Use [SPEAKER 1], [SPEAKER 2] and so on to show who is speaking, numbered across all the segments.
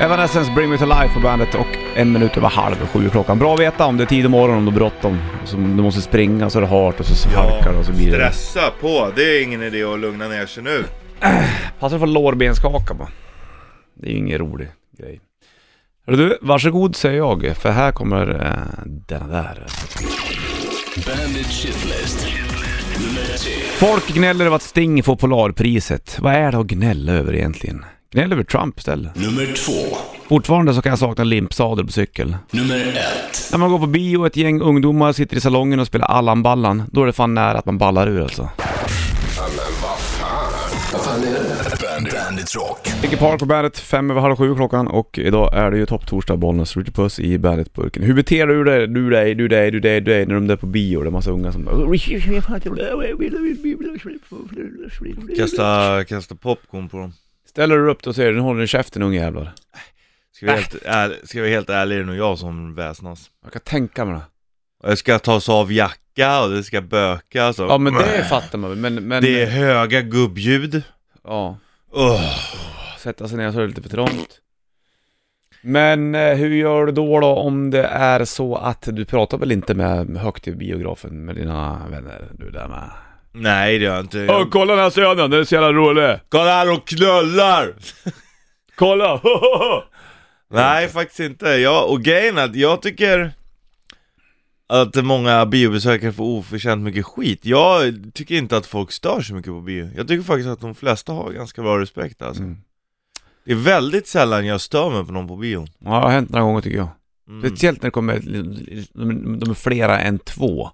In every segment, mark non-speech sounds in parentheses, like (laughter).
[SPEAKER 1] Evanescence Bring Me To Life på bandet och en minut över halv sju är klockan. Bra att veta om det är tid om morgonen och det är bråttom. Så Du måste springa så är det halt och så svalkar det och så blir det...
[SPEAKER 2] Stressa på, det är ingen idé att lugna ner sig nu.
[SPEAKER 1] Passa dig för lårbenskaka bara. Det är ju ingen rolig grej. Hörru du, varsågod säger jag, för här kommer eh, den där.
[SPEAKER 3] Bandit Shitlist. Nummer 10.
[SPEAKER 1] Folk gnäller över att Sting får Polarpriset. Vad är det att gnälla över egentligen? Gnäll över Trump istället.
[SPEAKER 3] Nummer 2.
[SPEAKER 1] Fortfarande så kan jag sakna limpsadel på cykel.
[SPEAKER 3] Nummer 1.
[SPEAKER 1] När man går på bio och ett gäng ungdomar sitter i salongen och spelar Allan-ballan, då är det fan nära att man ballar ur alltså.
[SPEAKER 3] Bandit. Bandit Rock.
[SPEAKER 1] Linkin Park på Bandet, fem över halv sju klockan och idag är det ju topptorsdag, Bollnäs, Ritchie Puss i Bandet-burken. Hur beter du dig, du dig, du dig, du dig, du dig när de är på bio och det är massa unga som
[SPEAKER 2] Kasta, kasta popcorn på dem.
[SPEAKER 1] Ställer du upp dig och säger du, nu håller ni käften ungjävlar.
[SPEAKER 2] Ska
[SPEAKER 1] Äh.
[SPEAKER 2] vi helt, ärl, ska vi helt ärlig, det är nog jag som väsnas.
[SPEAKER 1] Jag kan tänka mig det.
[SPEAKER 2] Och Det ska tas av jacka och det ska bökas och...
[SPEAKER 1] Ja men det fattar man väl, men, men...
[SPEAKER 2] Det är höga gubbljud.
[SPEAKER 1] Ja.
[SPEAKER 2] Ugh.
[SPEAKER 1] sätta sig ner så är det lite för trångt. Men eh, hur gör du då, då om det är så att du pratar väl inte med med högt i biografen med dina vänner? Du där med.
[SPEAKER 2] Nej det gör jag inte.
[SPEAKER 1] Åh, kolla den här sönen, den är så jävla rolig!
[SPEAKER 2] Kolla här och knullar!
[SPEAKER 1] Kolla! (laughs)
[SPEAKER 2] Nej faktiskt inte. Jag, och grejen är att jag tycker att många biobesökare får oförtjänt mycket skit. Jag tycker inte att folk stör så mycket på bio. Jag tycker faktiskt att de flesta har ganska bra respekt alltså.
[SPEAKER 1] Mm.
[SPEAKER 2] Det är väldigt sällan jag stör mig på någon på bio.
[SPEAKER 1] ja, det har hänt några gånger tycker jag.
[SPEAKER 2] Mm.
[SPEAKER 1] Speciellt när det kommer, de, de är flera än två.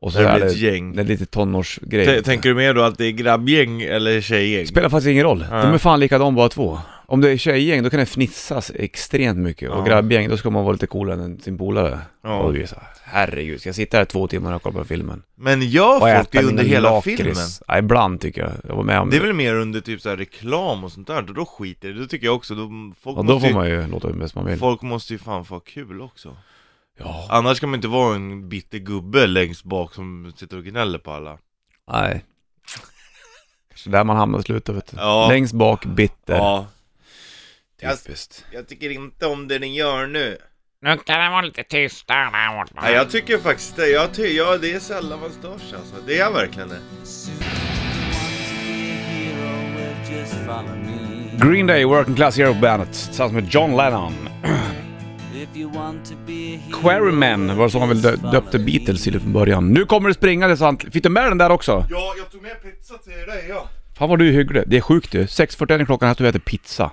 [SPEAKER 1] Och så
[SPEAKER 2] Det
[SPEAKER 1] är
[SPEAKER 2] blir ett
[SPEAKER 1] det,
[SPEAKER 2] gäng.
[SPEAKER 1] det är lite tonårsgrej.
[SPEAKER 2] T- Tänker du mer då att det är grabbgäng eller tjejgäng?
[SPEAKER 1] Spelar faktiskt ingen roll.
[SPEAKER 2] Nej.
[SPEAKER 1] De är fan likadana båda två. Om det är tjejgäng då kan det fnissas extremt mycket och
[SPEAKER 2] Ja.
[SPEAKER 1] grabbgäng då ska man vara lite coolare än sin polare.
[SPEAKER 2] Ja.
[SPEAKER 1] Och det är så här, herregud, ska jag sitta här två timmar och kolla på filmen?
[SPEAKER 2] Men gör folk det
[SPEAKER 1] äta
[SPEAKER 2] under
[SPEAKER 1] mina
[SPEAKER 2] hela
[SPEAKER 1] lakrits?
[SPEAKER 2] filmen?
[SPEAKER 1] Ja, ibland tycker jag. Jag var med om
[SPEAKER 2] Det
[SPEAKER 1] det.
[SPEAKER 2] är väl mer under typ så här reklam och sånt där, då, då skiter det. Då tycker jag också, då, folk,
[SPEAKER 1] Ja, då
[SPEAKER 2] måste
[SPEAKER 1] får
[SPEAKER 2] ju,
[SPEAKER 1] man ju låta hur bäst man vill.
[SPEAKER 2] folk måste ju fan få ha kul också
[SPEAKER 1] Ja.
[SPEAKER 2] Annars kan man inte vara en bitter gubbe längst bak som sitter och gnäller på alla
[SPEAKER 1] Nej. Så där man hamnar i slutet vet du.
[SPEAKER 2] Ja.
[SPEAKER 1] Längst bak, bitter.
[SPEAKER 2] Ja,
[SPEAKER 1] Typiskt.
[SPEAKER 2] jag tycker inte om det ni gör nu
[SPEAKER 4] Nu kan det vara lite tystare där borta.
[SPEAKER 2] Nej jag tycker faktiskt det, jag ty- ja, det är sällan man stör sig alltså, det är verkligen det
[SPEAKER 1] Green Day, Working Class Hero Bandet, tillsammans med John Lennon. Quarrymen var så han väl dö- döpte Beatles till från början. Nu kommer det springa sant. Fick du med den där också?
[SPEAKER 2] Ja, jag tog med pizza till dig ja
[SPEAKER 1] Fan vad du är hygglig. Det är sjukt du. 6.41 klockan här står vi och äter pizza.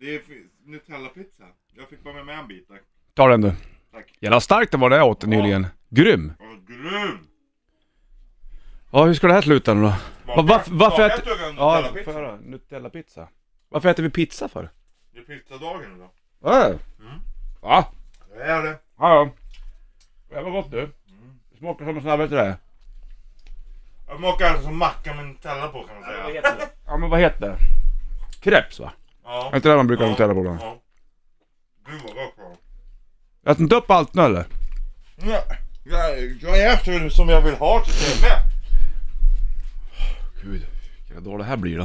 [SPEAKER 2] Det är Nutella-pizza, jag fick bara med en bit tack
[SPEAKER 1] Ta den du.
[SPEAKER 2] Tack.
[SPEAKER 1] Jävla starkt det var det jag åt nyligen. Grym!
[SPEAKER 2] Grym!
[SPEAKER 1] Ja, hur ska det här sluta nu då? Va, varför, varför äter... Ja, får jag
[SPEAKER 2] Nutella-pizza?
[SPEAKER 1] höra? Nutella-pizza. Varför äter vi pizza för?
[SPEAKER 2] Det är pizzadagen idag
[SPEAKER 1] Va? Va?
[SPEAKER 2] Det är det
[SPEAKER 1] Ja, ja. Jävlar gott du. Det smakar som en sån här, vet du det?
[SPEAKER 2] Jag smakar alltså macka med Nutella på kan man säga.
[SPEAKER 1] Ja men vad heter det? Crepes va?
[SPEAKER 2] Ja.
[SPEAKER 1] Är inte det man brukar ha Nutella på då?
[SPEAKER 2] Ja. Gud vad gott va?
[SPEAKER 1] Jag äter inte upp allt nu eller?
[SPEAKER 2] Ja. Jag, jag äter det som jag vill ha till TV.
[SPEAKER 1] Gud, vilken dålig det här blir då.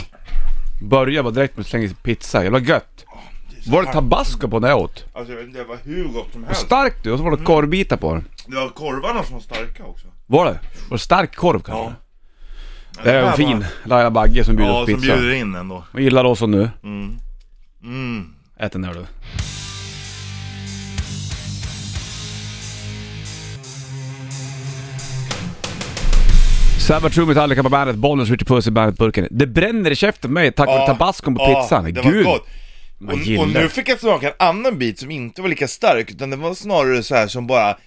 [SPEAKER 1] Börja bara direkt med att slänga i sig pizza, jävla gött. Var det tabasco på när jag åt?
[SPEAKER 2] Alltså jag vet inte, det var hur gott som
[SPEAKER 1] Vad
[SPEAKER 2] helst.
[SPEAKER 1] starkt du, och så var det korvbitar på den.
[SPEAKER 2] Det var korvarna som var starka också.
[SPEAKER 1] Var det? Var det stark korv kanske?
[SPEAKER 2] Ja,
[SPEAKER 1] Det är
[SPEAKER 2] här
[SPEAKER 1] en fin
[SPEAKER 2] var-
[SPEAKER 1] Laila Bagge som bjuder
[SPEAKER 2] Ja,
[SPEAKER 1] oss
[SPEAKER 2] som
[SPEAKER 1] pizza.
[SPEAKER 2] bjuder in ändå.
[SPEAKER 1] Hon gillar oss och nu.
[SPEAKER 2] Mm. Mm.
[SPEAKER 1] Ät den där du. Sabbath True Metallica på bandet, Bollnäs, Ritchie Puss i bandet-burken. Det bränner i käften på mig tack vare tabascon på pizzan.
[SPEAKER 2] det
[SPEAKER 1] Gud!
[SPEAKER 2] var gott.
[SPEAKER 1] man
[SPEAKER 2] Och,
[SPEAKER 1] gillar
[SPEAKER 2] och
[SPEAKER 1] det.
[SPEAKER 2] nu fick jag smaka en annan bit som inte var lika stark, utan det var snarare så här som bara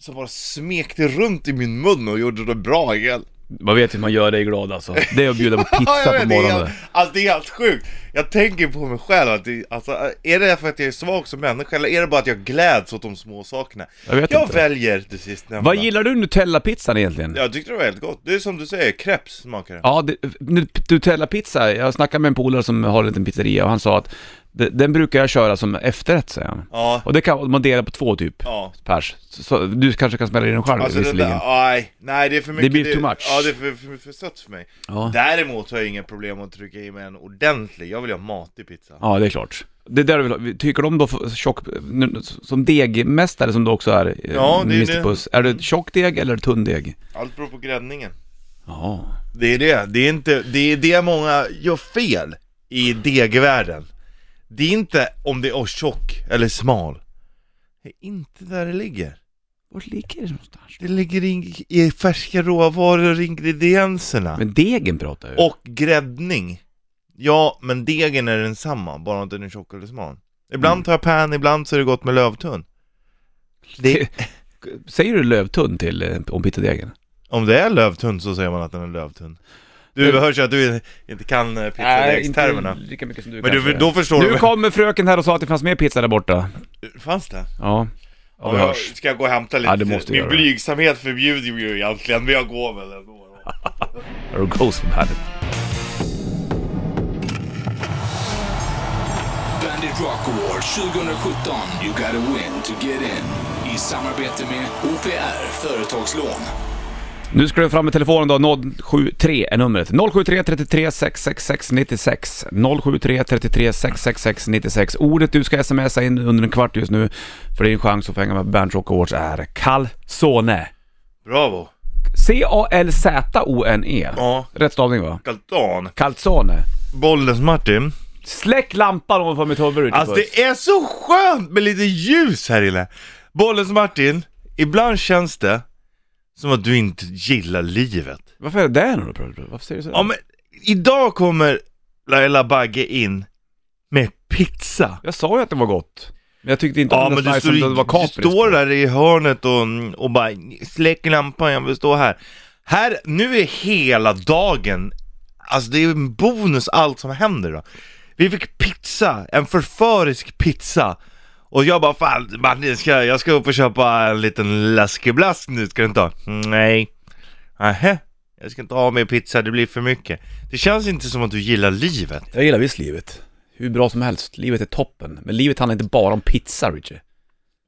[SPEAKER 2] som bara smekte runt i min mun och gjorde det bra igen. (laughs)
[SPEAKER 1] Man vet hur man gör dig glad alltså. Det är att bjuda på
[SPEAKER 2] Ja,
[SPEAKER 1] pizza på
[SPEAKER 2] jag vet, det är
[SPEAKER 1] morgonen.
[SPEAKER 2] helt- Alltså det är helt sjukt. Jag tänker på mig själv att det, alltså, är det för att jag är svag som människa eller är det bara att jag gläds åt de små sakerna?
[SPEAKER 1] Jag vet
[SPEAKER 2] jag
[SPEAKER 1] inte.
[SPEAKER 2] väljer det sistnämnda.
[SPEAKER 1] Vad gillar du Nutella-pizzan egentligen? Ja,
[SPEAKER 2] Jag tyckte det var helt gott. Det är som du säger, crepes smakar det.
[SPEAKER 1] det, Nutella-pizza. Jag snackade med en polare som har en liten pizzeria och han sa att De- Den brukar jag köra som efterrätt säger han.
[SPEAKER 2] Ja,
[SPEAKER 1] Och det kan man dela på två typ,
[SPEAKER 2] ja.
[SPEAKER 1] pers. Så, så du kanske kan smälla in den själv
[SPEAKER 2] Alltså det
[SPEAKER 1] visserligen.
[SPEAKER 2] där, nej, nej det är för mycket
[SPEAKER 1] blir too much.
[SPEAKER 2] Ja det är för, för, för sött för mig
[SPEAKER 1] Ja.
[SPEAKER 2] Däremot har jag inga problem att trycka i mig en ordentlig, jag vill ha mat i pizza
[SPEAKER 1] Ja, det är klart. Det är där du vill ha. Tycker de då för- tjock, nu- som degmästare som du också är, eh,
[SPEAKER 2] Ja, det är
[SPEAKER 1] Mr
[SPEAKER 2] det.
[SPEAKER 1] Puss. Är det tjock deg eller tunn deg?
[SPEAKER 2] Allt beror på gräddningen
[SPEAKER 1] Ja.
[SPEAKER 2] Det är det, det är inte, det är det många gör fel i degvärlden Det är inte om det är tjock eller smal Det är inte där det ligger
[SPEAKER 1] Vart ligger det någonstans?
[SPEAKER 2] Det ligger i, i färska råvaror, ingredienserna
[SPEAKER 1] Men degen pratar ju.
[SPEAKER 2] Och gräddning Ja, men degen är densamma, bara att den är tjock eller smal Ibland tar jag pan, ibland så är det gott med lövtunn det,
[SPEAKER 1] Säger du lövtunn till eh, om pizzadegen?
[SPEAKER 2] Om det är lövtunn så säger man att den är lövtunn Du
[SPEAKER 1] Det-
[SPEAKER 2] hörs ju att du inte kan eh, pizzadegstermerna
[SPEAKER 1] lika mycket som du
[SPEAKER 2] Men du, då förstår
[SPEAKER 1] Nu
[SPEAKER 2] du
[SPEAKER 1] kommer fröken här och sa att det fanns mer pizza där borta.
[SPEAKER 2] Fanns det?
[SPEAKER 1] Ja. Ja, vi
[SPEAKER 2] jag-
[SPEAKER 1] hörs.
[SPEAKER 2] Ska jag gå och hämta lite?
[SPEAKER 1] Ja, det måste du
[SPEAKER 2] Min
[SPEAKER 1] göra.
[SPEAKER 2] blygsamhet förbjuder ju egentligen, men jag går väl ändå
[SPEAKER 1] There goes for bad.
[SPEAKER 3] Bandit Rock Award 2017. You gotta win to get in. I samarbete med OPR Företagslån.
[SPEAKER 1] Nu ska du fram med telefonen då, 073 är numret. 073 33 666 96. 073 33 666 96. Ordet du ska smsa in under en kvart just nu, för din chans att få hänga med på Bernt Rock Awards är Calzone.
[SPEAKER 2] Bravo!
[SPEAKER 1] C-A-L-Z-O-N-E.
[SPEAKER 2] Ja,
[SPEAKER 1] Rätt stavning va?
[SPEAKER 2] Galtan
[SPEAKER 1] Calzone.
[SPEAKER 2] Bollens Martin
[SPEAKER 1] Släck lampan om du får mitt huvud ut.
[SPEAKER 2] Alltså det är så skönt med lite ljus här inne! Bollens Martin, ibland känns det som att du inte gillar livet
[SPEAKER 1] Varför är det där nu då? Varför säger du så?
[SPEAKER 2] Ja men, idag kommer Laila Bagge in med pizza
[SPEAKER 1] Jag sa ju att det var gott. Men jag tyckte inte
[SPEAKER 2] Ja
[SPEAKER 1] att det
[SPEAKER 2] men
[SPEAKER 1] var
[SPEAKER 2] du,
[SPEAKER 1] nice
[SPEAKER 2] står,
[SPEAKER 1] som det var
[SPEAKER 2] du
[SPEAKER 1] kapris
[SPEAKER 2] står
[SPEAKER 1] på.
[SPEAKER 2] där i hörnet och, och bara släck lampan, jag vill stå här. Här, nu är hela dagen, alltså det är en bonus allt som händer då. Vi fick pizza, en förförisk pizza. Och jag bara fan Martin, ska, jag ska upp och köpa en liten läskeblask nu, ska du inte ha? Nej. Nähä, jag ska inte ha mer pizza, det blir för mycket. Det känns inte som att du gillar livet.
[SPEAKER 1] Jag gillar visst livet. Hur bra som helst. Livet är toppen. Men livet handlar inte bara om pizza, Richie.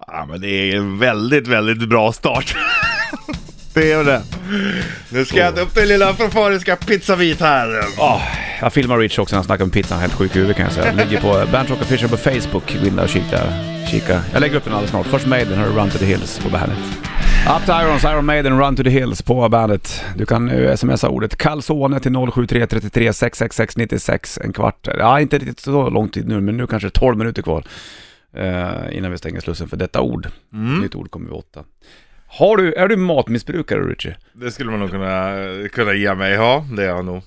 [SPEAKER 2] Ja men det är en väldigt, väldigt bra start. (laughs) det är det. Nu ska jag äta upp den lilla förföriska pizzabit här.
[SPEAKER 1] Ah, jag filmar Richie också när han snackar om pizza. Han är Helt sjuk i huvudet kan jag säga. Ligger på Bernt Rock Official på Facebook. Vill ni kika där? Kika. Jag lägger upp den alldeles snart. Först Maiden, här är Run to the Hills på bandet. Up to Irons, Iron Maiden, Run to the Hills på bandet. Du kan nu smsa ordet calzone till 07333 666 96 en kvart. Ja, inte riktigt så lång tid nu, men nu kanske 12 minuter kvar. eh, innan vi stänger slussen för detta ord.
[SPEAKER 2] Mm.
[SPEAKER 1] Nytt ord kommer vi åtta. Har du, är du matmissbrukare Richie?
[SPEAKER 2] Det skulle man nog kunna, kunna ge mig, ja det är jag nog.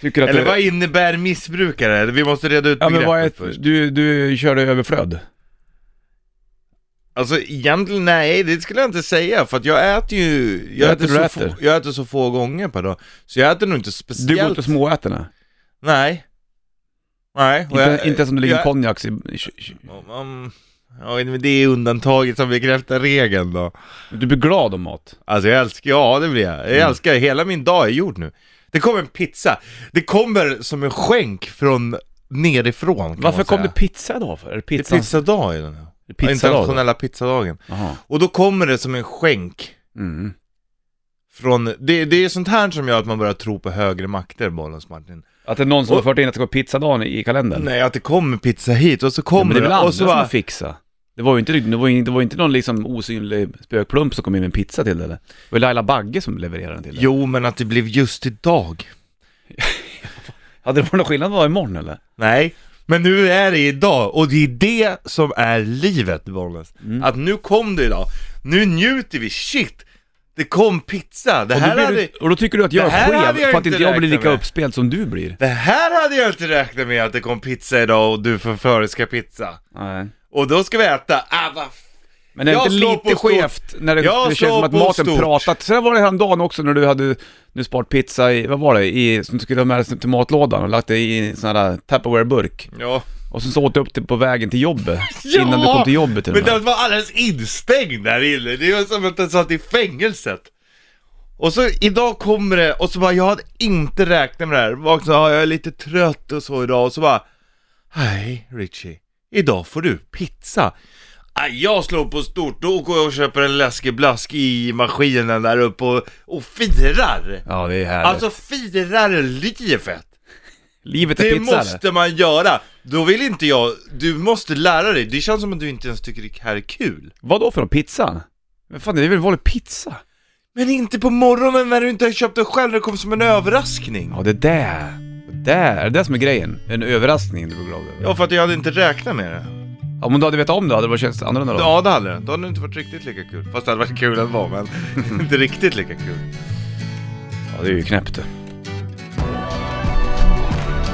[SPEAKER 1] Tycker att
[SPEAKER 2] Eller
[SPEAKER 1] det-
[SPEAKER 2] vad innebär missbrukare? Vi måste reda ut
[SPEAKER 1] Ja
[SPEAKER 2] begreppet
[SPEAKER 1] men vad är,
[SPEAKER 2] först.
[SPEAKER 1] du, du körde överflöd?
[SPEAKER 2] Alltså egentligen, nej det skulle jag inte säga för att jag äter ju, jag
[SPEAKER 1] Äter
[SPEAKER 2] äter,
[SPEAKER 1] du
[SPEAKER 2] så,
[SPEAKER 1] äter?
[SPEAKER 2] Få, jag äter så få gånger per dag. Så jag äter nog inte speciellt.
[SPEAKER 1] Du går inte och småäter nej?
[SPEAKER 2] Nej. Nej. och
[SPEAKER 1] Inte,
[SPEAKER 2] jag-
[SPEAKER 1] inte som det ligger
[SPEAKER 2] jag-
[SPEAKER 1] konjaks i... i- i-
[SPEAKER 2] Om- om- Ja, men det är undantaget som bekräftar regeln då.
[SPEAKER 1] Du blir glad om mat.
[SPEAKER 2] Alltså jag älskar, ja det blir jag. Jag
[SPEAKER 1] Mm.
[SPEAKER 2] älskar, hela min dag är gjord nu. Det kommer en pizza. Det kommer som en skänk från nerifrån kan
[SPEAKER 1] Varför
[SPEAKER 2] man
[SPEAKER 1] kom det
[SPEAKER 2] säga.
[SPEAKER 1] pizza idag för? Är det
[SPEAKER 2] Det är
[SPEAKER 1] pizza?
[SPEAKER 2] pizzadag i den här.
[SPEAKER 1] pizzadag
[SPEAKER 2] Internationella pizzadagen.
[SPEAKER 1] Jaha.
[SPEAKER 2] Och då kommer det som en skänk
[SPEAKER 1] Mm.
[SPEAKER 2] från, det, det är sånt här som gör att man börjar tro på högre makter, Bollens Martin.
[SPEAKER 1] Att det är någon som
[SPEAKER 2] Och-
[SPEAKER 1] har fört in att det ska vara pizzadagen i kalendern?
[SPEAKER 2] Nej, att det kommer pizza hit och så
[SPEAKER 1] Ja,
[SPEAKER 2] kommer
[SPEAKER 1] Mm. men det är väl
[SPEAKER 2] det,
[SPEAKER 1] andra
[SPEAKER 2] och så
[SPEAKER 1] som
[SPEAKER 2] bara,
[SPEAKER 1] har fixat? Det var ju inte, det var ju, det var ju inte någon liksom osynlig spökplump som kom in med en pizza till det eller? Det var Laila Bagge som levererade den till dig.
[SPEAKER 2] Jo, men att det blev just idag.
[SPEAKER 1] Hade det varit någon skillnad vad det var imorgon eller?
[SPEAKER 2] Nej, men nu är det idag och det är det som är livet Bollnäs.
[SPEAKER 1] Mm.
[SPEAKER 2] Att nu kom det idag, nu njuter vi, shit! Det kom pizza, det
[SPEAKER 1] Och då,
[SPEAKER 2] här,
[SPEAKER 1] blir
[SPEAKER 2] hade,
[SPEAKER 1] du, och då tycker du att jag
[SPEAKER 2] Det här
[SPEAKER 1] är
[SPEAKER 2] hade
[SPEAKER 1] skev
[SPEAKER 2] jag
[SPEAKER 1] för att
[SPEAKER 2] inte
[SPEAKER 1] inte jag blir
[SPEAKER 2] räknat
[SPEAKER 1] lika
[SPEAKER 2] med.
[SPEAKER 1] uppspelt som du blir?
[SPEAKER 2] det här hade jag inte räknat med att det kom pizza idag och du förföriska pizza.
[SPEAKER 1] Nej.
[SPEAKER 2] Och då ska vi äta, ah, vad f-
[SPEAKER 1] Men är det
[SPEAKER 2] Jag
[SPEAKER 1] inte
[SPEAKER 2] slår
[SPEAKER 1] lite
[SPEAKER 2] på stort.
[SPEAKER 1] skevt när det,
[SPEAKER 2] Jag
[SPEAKER 1] det känns som
[SPEAKER 2] slår
[SPEAKER 1] att
[SPEAKER 2] på
[SPEAKER 1] maten
[SPEAKER 2] stort.
[SPEAKER 1] pratat? Sen var det häromdagen också när du hade nu sparat pizza i, vad var det, i, som du skulle ha med dig till matlådan och lagt det i en sån här Tupperware-burk.
[SPEAKER 2] ja.
[SPEAKER 1] Och sen så åt du upp det på vägen till jobbet, innan du kom till jobbet till
[SPEAKER 2] Men
[SPEAKER 1] och med.
[SPEAKER 2] den var alldeles instängd där inne, det var som att den satt i fängelset. Och så idag kommer det, och så bara jag hade inte räknat med det här, Vaknade, ja, jag är lite trött och så idag, och så bara Hej Richie, idag får du pizza. Ah, Jag slår på stort, då går jag och köper en läskeblask i maskinen där uppe och, och firar!
[SPEAKER 1] Ja, det är härligt.
[SPEAKER 2] Alltså firar livet!
[SPEAKER 1] Livet är
[SPEAKER 2] Det
[SPEAKER 1] pizza eller?
[SPEAKER 2] måste man göra! Då vill inte jag, du måste lära dig, det känns som att du inte ens tycker det här är kul.
[SPEAKER 1] Vad då för något? Pizzan? Men fan, det är väl vanlig pizza?
[SPEAKER 2] Men inte på morgonen när du inte har köpt det själv, det kommer som en överraskning.
[SPEAKER 1] Ja, det där. Det där. Är det det som är grejen? En överraskning du blir glad över?
[SPEAKER 2] Ja, för att jag hade inte räknat med det.
[SPEAKER 1] Ja, men du hade vetat om det hade det varit känts annorlunda då?
[SPEAKER 2] Ja, det hade det. Då hade det inte varit riktigt lika kul. Fast det hade varit kul ändå, (laughs) men inte riktigt lika kul.
[SPEAKER 1] Ja, det är ju knäppt det.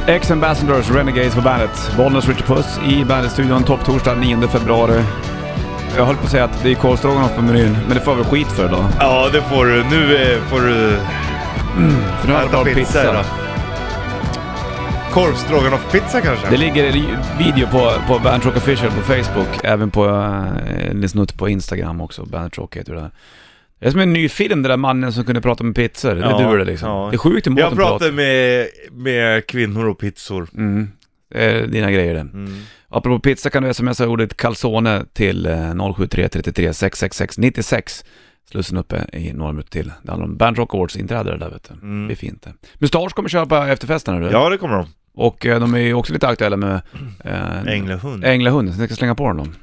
[SPEAKER 1] Ex Ambassadors, Renegades på bandet. Bollnäs Richard Puss i bandetstudion. Topp torsdag 9 februari. Jag höll på att säga att det är korvstroganoff på menyn, men det får jag väl skit för idag.
[SPEAKER 2] Ja, det får du. Nu eh, får du
[SPEAKER 1] För nu har jag
[SPEAKER 2] äta
[SPEAKER 1] tagit
[SPEAKER 2] pizza,
[SPEAKER 1] pizza.
[SPEAKER 2] idag. Korv stroganoff-pizza kanske?
[SPEAKER 1] Det ligger en video på, på Bandrock official på Facebook, även på eh, en snutt på Instagram också, Bandrock heter det där. Det är som en ny film, den där mannen som kunde prata med pizzor. Det är
[SPEAKER 2] Ja,
[SPEAKER 1] du det liksom.
[SPEAKER 2] ja.
[SPEAKER 1] Det är sjukt hur
[SPEAKER 2] jag
[SPEAKER 1] maten pratar.
[SPEAKER 2] pratar med, med kvinnor och pizzor.
[SPEAKER 1] Mm. Det är dina grejer det. Apropå pizza kan du smsa ordet calzone till eh, 073 666 96. Slussen uppe i några minuter till. Det handlar om Bandrock Awards inträde det där vet du. Det blir fint det. Mustasch kommer köra på efterfesten du.
[SPEAKER 2] Ja, det kommer de.
[SPEAKER 1] Och eh, de är ju också lite aktuella med eh,
[SPEAKER 2] Änglahund.
[SPEAKER 1] Änglahunden, så jag ska slänga på honom.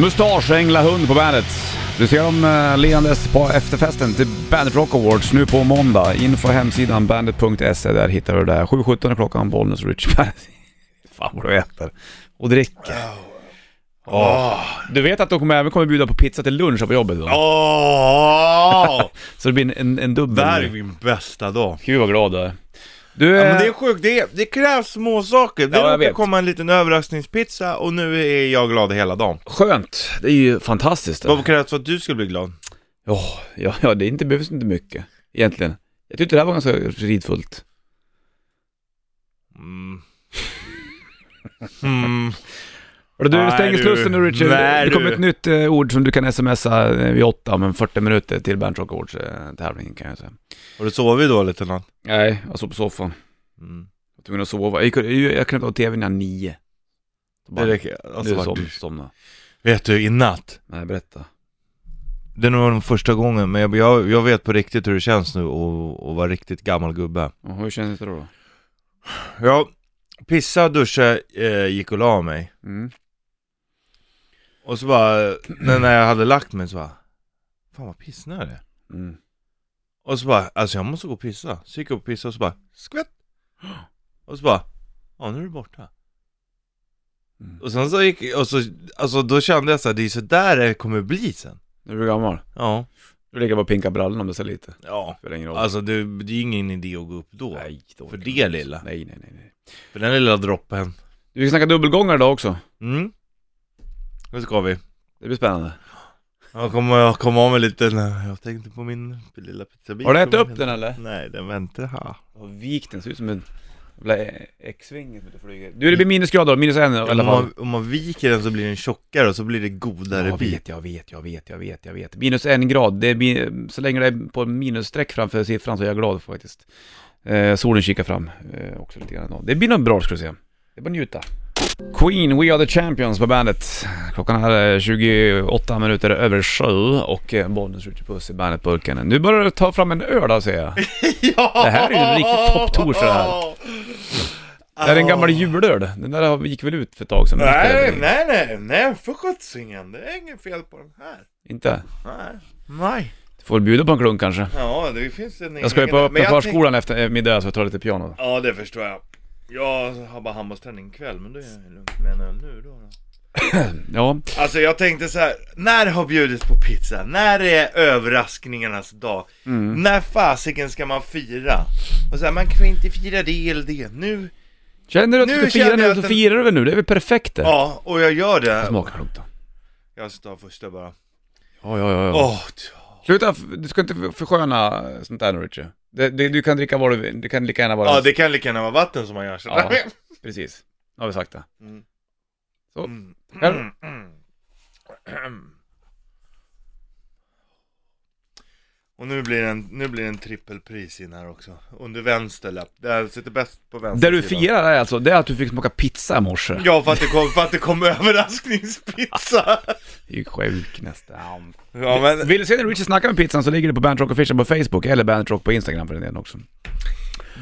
[SPEAKER 1] Mustasch, änglahund på bandet. Du ser dem eh, leendes på efterfesten till Bandit Rock Awards nu på måndag. In på hemsidan bandit.se, där hittar du det. 7.17 är klockan, Bollnäs Rich Bandit. (laughs) Fan vad du äter. Och dricker.
[SPEAKER 2] Åh!
[SPEAKER 1] Du vet att de kommer även kommer bjuda på pizza till lunch här på jobbet då?
[SPEAKER 2] Åh!
[SPEAKER 1] (laughs) Så det blir en, en, en dubbel...
[SPEAKER 2] Det här är min bästa dag.
[SPEAKER 1] Gud vad glad du är. Du,
[SPEAKER 2] Ja, men det
[SPEAKER 1] eh,
[SPEAKER 2] är sjukt, det, är, det krävs små saker. Det
[SPEAKER 1] Ja, jag
[SPEAKER 2] råkar
[SPEAKER 1] vet.
[SPEAKER 2] komma en liten överraskningspizza och nu är jag glad hela dagen.
[SPEAKER 1] Skönt, det är ju fantastiskt.
[SPEAKER 2] Vad krävs för att du skulle bli glad?
[SPEAKER 1] Ja, ja, ja, det är inte, behövs inte mycket egentligen. Jag tyckte det här var ganska ridfullt.
[SPEAKER 2] Mm. Mm.
[SPEAKER 1] Och du
[SPEAKER 2] Nej,
[SPEAKER 1] stänger
[SPEAKER 2] du.
[SPEAKER 1] slussen nu Richard.
[SPEAKER 2] Nej,
[SPEAKER 1] det kommer
[SPEAKER 2] du.
[SPEAKER 1] ett nytt eh, ord som du kan smsa eh, vid åtta om en 40 minuter till Bernt Rock Awards eh, tävlingen kan jag säga.
[SPEAKER 2] Har du sovit dåligt i natt?
[SPEAKER 1] Nej, jag sov på soffan.
[SPEAKER 2] Mm.
[SPEAKER 1] Jag var tvungen att sova. Jag, gick- jag, jag knäppte av tvn innan nio. Så bara,
[SPEAKER 2] Det räcker.
[SPEAKER 1] nu
[SPEAKER 2] Alltså, bara,
[SPEAKER 1] som,
[SPEAKER 2] du,
[SPEAKER 1] somna.
[SPEAKER 2] vet du, i natt.
[SPEAKER 1] Nej, berätta.
[SPEAKER 2] Det är nog den första gången, men jag, jag, jag vet på riktigt hur det känns nu att att vara riktigt gammal gubbe.
[SPEAKER 1] Och hur kändes det då?
[SPEAKER 2] Jag pissade, duschade, eh, gick och la mig.
[SPEAKER 1] Mm.
[SPEAKER 2] Och så bara, när när jag hade lagt mig så bara Fan vad pissnödig jag är.
[SPEAKER 1] Mm.
[SPEAKER 2] Och så bara, alltså jag måste gå och pissa Så gick jag och pissade och så bara, skvätt! Och så bara, ja nu är du borta
[SPEAKER 1] Mm.
[SPEAKER 2] Och sen så gick, och så, alltså då kände jag så här, det är så där det kommer bli sen
[SPEAKER 1] Nu är du gammal.
[SPEAKER 2] Ja,
[SPEAKER 1] Du ligger bara och pinkar brallorna om det ser lite.
[SPEAKER 2] ja
[SPEAKER 1] Spelar ingen roll.
[SPEAKER 2] Alltså det, det är ingen idé att gå upp då
[SPEAKER 1] nej, då
[SPEAKER 2] för
[SPEAKER 1] orkar
[SPEAKER 2] det
[SPEAKER 1] jag inte.
[SPEAKER 2] lilla.
[SPEAKER 1] Nej, nej, nej. nej.
[SPEAKER 2] För den lilla droppen
[SPEAKER 1] Du ska snacka dubbelgångare idag också.
[SPEAKER 2] Mm Nu ska vi
[SPEAKER 1] Det blir spännande.
[SPEAKER 2] Jag kommer, jag kommer av med lite, jag tänkte på min lilla pizzabit
[SPEAKER 1] Har du ätit upp den eller?
[SPEAKER 2] Nej, den väntar här
[SPEAKER 1] Och vikt den, ser ut som en jävla X-ving som du flyger. Du, det blir minusgrader, minus en i alla
[SPEAKER 2] Om
[SPEAKER 1] fall.
[SPEAKER 2] man, om man viker den så blir den tjockare och så blir det godare
[SPEAKER 1] Jag
[SPEAKER 2] bit.
[SPEAKER 1] vet, jag vet, jag vet, jag vet, jag vet. Minus en grad, det är, mi- så länge det är på minusstreck framför siffran så är jag glad faktiskt. Eh, solen kikar fram eh, också lite grann idag. Det blir nog bra ska du se. Det är bara att njuta. Queen, We Are The Champions på bandet. Klockan är eh, 28 minuter över sju och eh, Bollnäs skjuter puss i bandetburken. Nu börjar du ta fram en öl där ser jag.
[SPEAKER 2] (laughs) Ja!
[SPEAKER 1] Det här är ju en riktig topptorsdag det här. Det är en gammal julöl. Den där har- gick väl ut för ett tag sedan. men det spelar
[SPEAKER 2] Nej,
[SPEAKER 1] väl ingen-
[SPEAKER 2] nej, nej, nej, för sjuttsingen. Det är inget fel på den här.
[SPEAKER 1] Inte?
[SPEAKER 2] Nej. Nej.
[SPEAKER 1] Du får väl bjuda på en klunk kanske.
[SPEAKER 2] Ja, det finns en
[SPEAKER 1] Jag ska ju på
[SPEAKER 2] egen-
[SPEAKER 1] öppna
[SPEAKER 2] Men jag tänk-
[SPEAKER 1] förskolan efter eh, middag så jag tar lite piano.
[SPEAKER 2] Ja, det förstår jag. Jag har bara handbollsträning ikväll, men då är jag lugnt med en öl nu då. då.
[SPEAKER 1] Ja,
[SPEAKER 2] Alltså jag tänkte så här, när har bjudits på pizza? När är överraskningarnas dag?
[SPEAKER 1] Mm.
[SPEAKER 2] När fasiken ska man fira? Och så här, man kan inte fira det eller det. Nu,
[SPEAKER 1] känner du att
[SPEAKER 2] Nu
[SPEAKER 1] du
[SPEAKER 2] känner
[SPEAKER 1] firar
[SPEAKER 2] jag
[SPEAKER 1] nu
[SPEAKER 2] att
[SPEAKER 1] så
[SPEAKER 2] den-
[SPEAKER 1] firar du väl nu? Det är väl perfekt det?
[SPEAKER 2] ja, och jag gör det.
[SPEAKER 1] Smaka klunk då.
[SPEAKER 2] Jag ska ta första bara.
[SPEAKER 1] Ja, ja, ja. ja.
[SPEAKER 2] Åh, ja.
[SPEAKER 1] Sluta, f- du ska inte f- försköna sånt där nu Richie. Det, det, du kan dricka vad du vill, det kan lika gärna vara...
[SPEAKER 2] ja, det kan lika gärna vara vatten som man gör så.
[SPEAKER 1] Ja. Precis, nu har vi sagt det.
[SPEAKER 2] Mm.
[SPEAKER 1] Så,
[SPEAKER 2] Mm.
[SPEAKER 1] själv?
[SPEAKER 2] Mm. (clears throat) Och nu blir det en, nu blir det en trippelpris in här också. Under vänster lapp. Där sitter bäst på vänster
[SPEAKER 1] Det du
[SPEAKER 2] sidan.
[SPEAKER 1] firar är alltså, det är att du fick smaka pizza i morse.
[SPEAKER 2] Ja, för att det kom, för att det kom (laughs) överraskningspizza.
[SPEAKER 1] Det är ju sjuk nästan.
[SPEAKER 2] Ja, men
[SPEAKER 1] Vill du se när Richie snackar med pizzan så ligger det på Bandit Rock Official på Facebook eller Bandit Rock på Instagram för den delen också.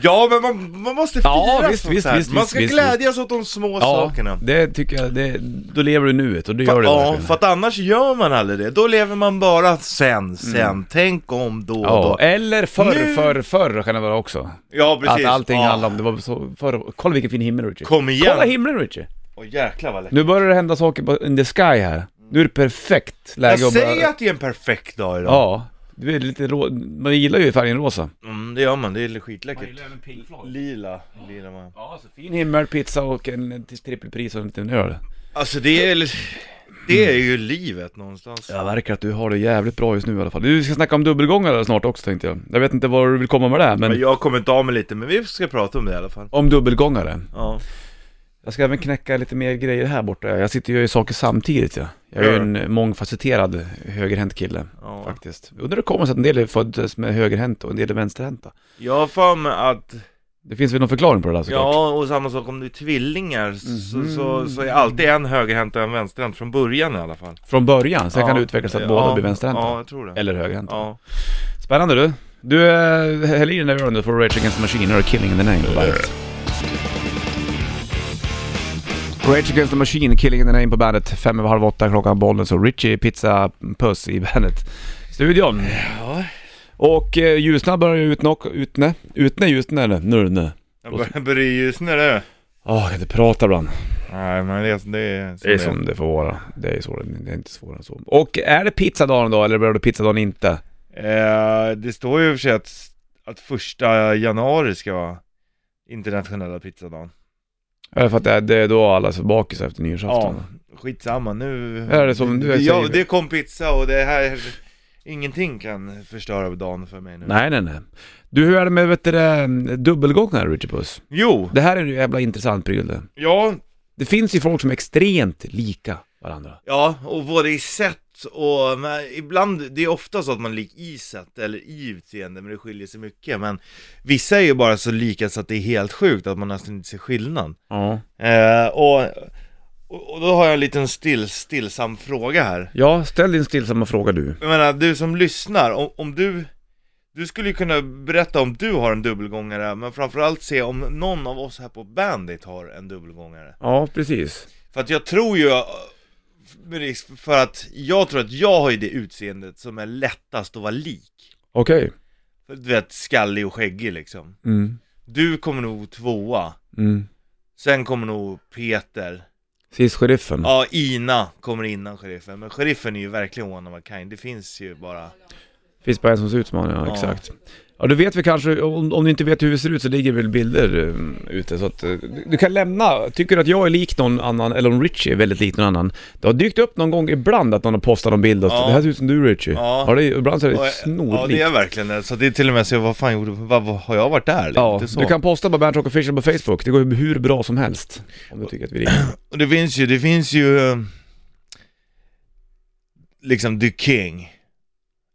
[SPEAKER 2] Ja men man, man måste fira
[SPEAKER 1] Ja, visst,
[SPEAKER 2] sånt
[SPEAKER 1] visst,
[SPEAKER 2] här.
[SPEAKER 1] visst,
[SPEAKER 2] Man
[SPEAKER 1] visst,
[SPEAKER 2] ska
[SPEAKER 1] visst,
[SPEAKER 2] glädjas åt de små sakerna.
[SPEAKER 1] det tycker jag, det, då lever du i nuet och det gör
[SPEAKER 2] För,
[SPEAKER 1] du
[SPEAKER 2] ja,
[SPEAKER 1] verkligen.
[SPEAKER 2] för att annars gör man aldrig det. Då lever man bara sen, sen. Tänk om då, och
[SPEAKER 1] Mm. Ja,
[SPEAKER 2] då.
[SPEAKER 1] eller förr,
[SPEAKER 2] Nu-
[SPEAKER 1] förr, förr kan det vara också.
[SPEAKER 2] Ja precis.
[SPEAKER 1] Att allting
[SPEAKER 2] ja.
[SPEAKER 1] handlar om, det var så förr. Kolla vilken fin himmel Richie.
[SPEAKER 2] Kom igen.
[SPEAKER 1] Kolla himlen Richie.
[SPEAKER 2] Åh jäklar vad läckert.
[SPEAKER 1] Nu börjar det hända saker på, in the sky här. Nu är det perfekt läge
[SPEAKER 2] Jag
[SPEAKER 1] att börja-
[SPEAKER 2] säger att det är en perfekt dag idag.
[SPEAKER 1] Ja, du är lite rå... man gillar ju färgen rosa.
[SPEAKER 2] Mm, det gör man, det är skitläckert. Lila, lila man.
[SPEAKER 1] Ja, så fin himmel, pizza och en, en trippelpris och en liten öl.
[SPEAKER 2] Alltså det är, det är ju livet någonstans.
[SPEAKER 1] Jag verkar att du har det jävligt bra just nu i alla fall. Du ska snacka om dubbelgångare snart också tänkte jag. Jag vet inte var du vill komma med det, här, men
[SPEAKER 2] Men jag kommer inte av mig lite, men vi ska prata om det i alla fall.
[SPEAKER 1] om dubbelgångare.
[SPEAKER 2] Ja.
[SPEAKER 1] Jag ska även knäcka lite mer grejer här borta. Jag sitter och gör ju saker samtidigt ja. Jag är
[SPEAKER 2] Gör
[SPEAKER 1] ju
[SPEAKER 2] du?
[SPEAKER 1] en mångfacetterad högerhänt kille
[SPEAKER 2] Ja.
[SPEAKER 1] faktiskt. Undrar hur det kommer sig att en del är föddes med högerhänt och en del är vänsterhänta.
[SPEAKER 2] Jag har för mig att
[SPEAKER 1] Det finns väl någon förklaring på det där såklart? Mm.
[SPEAKER 2] Ja, och samma sak om du är tvillingar så, så, så är alltid en högerhänt och en vänsterhänt från början i alla fall.
[SPEAKER 1] Från början, sen
[SPEAKER 2] ja.
[SPEAKER 1] kan det utvecklas att båda blir vänsterhänta.
[SPEAKER 2] Ja, jag tror det.
[SPEAKER 1] Eller högerhänta.
[SPEAKER 2] Ja.
[SPEAKER 1] Spännande du. Du, eh, häll i den där ölen du får Rage Against the Machine, och Killing in the Name på bandet. Rage Against the Machine, Killing in the Name på bandet. Fem över halv åtta klockan bollen, så Richie Pizza Puss i bandet. Studion.
[SPEAKER 2] Ja.
[SPEAKER 1] Och eh, Ljusna börjar ju utna, utne, utne, jutne eller nurne.
[SPEAKER 2] Jag börjar börja ljusna nu.
[SPEAKER 1] Åh, jag kan inte prata ibland.
[SPEAKER 2] Nej, men det, det är
[SPEAKER 1] Det är som det får vara. Det är, så, det är inte svårare än så. Och är det pizzadagen då, eller blir det pizzadagen inte?
[SPEAKER 2] Eh, det står ju i och för sig att, att första januari ska vara internationella pizzadagen.
[SPEAKER 1] Eller för att det är, det är då alla är så bakis efter nyårsafton.
[SPEAKER 2] skitsamma nu.
[SPEAKER 1] Är det som du
[SPEAKER 2] ja,
[SPEAKER 1] säger?
[SPEAKER 2] det kom pizza och det här... Ingenting kan förstöra dagen för mig nu.
[SPEAKER 1] Nej, nej, nej. Du, hur är det med vet du, det, dubbelgångare, Richard Puss?
[SPEAKER 2] Jo,
[SPEAKER 1] Det här är en jävla intressant pryl det.
[SPEAKER 2] ja,
[SPEAKER 1] Det finns ju folk som är extremt lika varandra.
[SPEAKER 2] Ja, och både i sätt och men ibland, det är ofta så att man är lik i sätt eller i utseende, men det skiljer sig mycket. Men vissa är ju bara så lika så att det är helt sjukt att man nästan inte ser skillnad.
[SPEAKER 1] Ja.
[SPEAKER 2] Eh, och, och och då har jag en liten still, stillsam fråga här.
[SPEAKER 1] Ja, ställ din stillsamma fråga du.
[SPEAKER 2] Jag menar, du som lyssnar, om, om du du skulle ju kunna berätta om du har en dubbelgångare, men framförallt se om någon av oss här på Bandit har en dubbelgångare.
[SPEAKER 1] Ja, precis.
[SPEAKER 2] För att jag tror ju, eh, med risk för att jag tror att jag har ju det utseendet som är lättast att vara lik.
[SPEAKER 1] Okej.
[SPEAKER 2] För Du vet, skallig och skäggig liksom.
[SPEAKER 1] Mm.
[SPEAKER 2] Du kommer nog tvåa,
[SPEAKER 1] Mm.
[SPEAKER 2] sen kommer nog Peter.
[SPEAKER 1] Sist sheriffen.
[SPEAKER 2] Ja, Ina kommer innan sheriffen, men sheriffen är ju verkligen one of a kind. Det finns ju bara...
[SPEAKER 1] Finns bara en som ser ut som han, ja,
[SPEAKER 2] Ja.
[SPEAKER 1] exakt. Ja, du vet vi kanske, om, om du inte vet hur vi ser ut så ligger väl bilder um, ute så att eh, du, du kan lämna, tycker du att jag är lik någon annan, eller om Richie är väldigt lik någon annan. Det har dykt upp någon gång ibland att någon har postat någon bild och
[SPEAKER 2] Ja.
[SPEAKER 1] det här ser ut som du Richie. Ja,
[SPEAKER 2] Ja.
[SPEAKER 1] det, är- ibland så är
[SPEAKER 2] Och-
[SPEAKER 1] det
[SPEAKER 2] Ja, det
[SPEAKER 1] snorlikt.
[SPEAKER 2] är verkligen det. Så det är till och med så, vad fan gjorde, vad, vad, har jag varit där?
[SPEAKER 1] Ja,
[SPEAKER 2] Lite så.
[SPEAKER 1] du kan posta på Bandit Rock Official på Facebook, det går ju hur bra som helst. Om du tycker att vi
[SPEAKER 2] (clears throat)
[SPEAKER 1] ringer.
[SPEAKER 2] Och det finns ju, det finns ju eh, liksom The King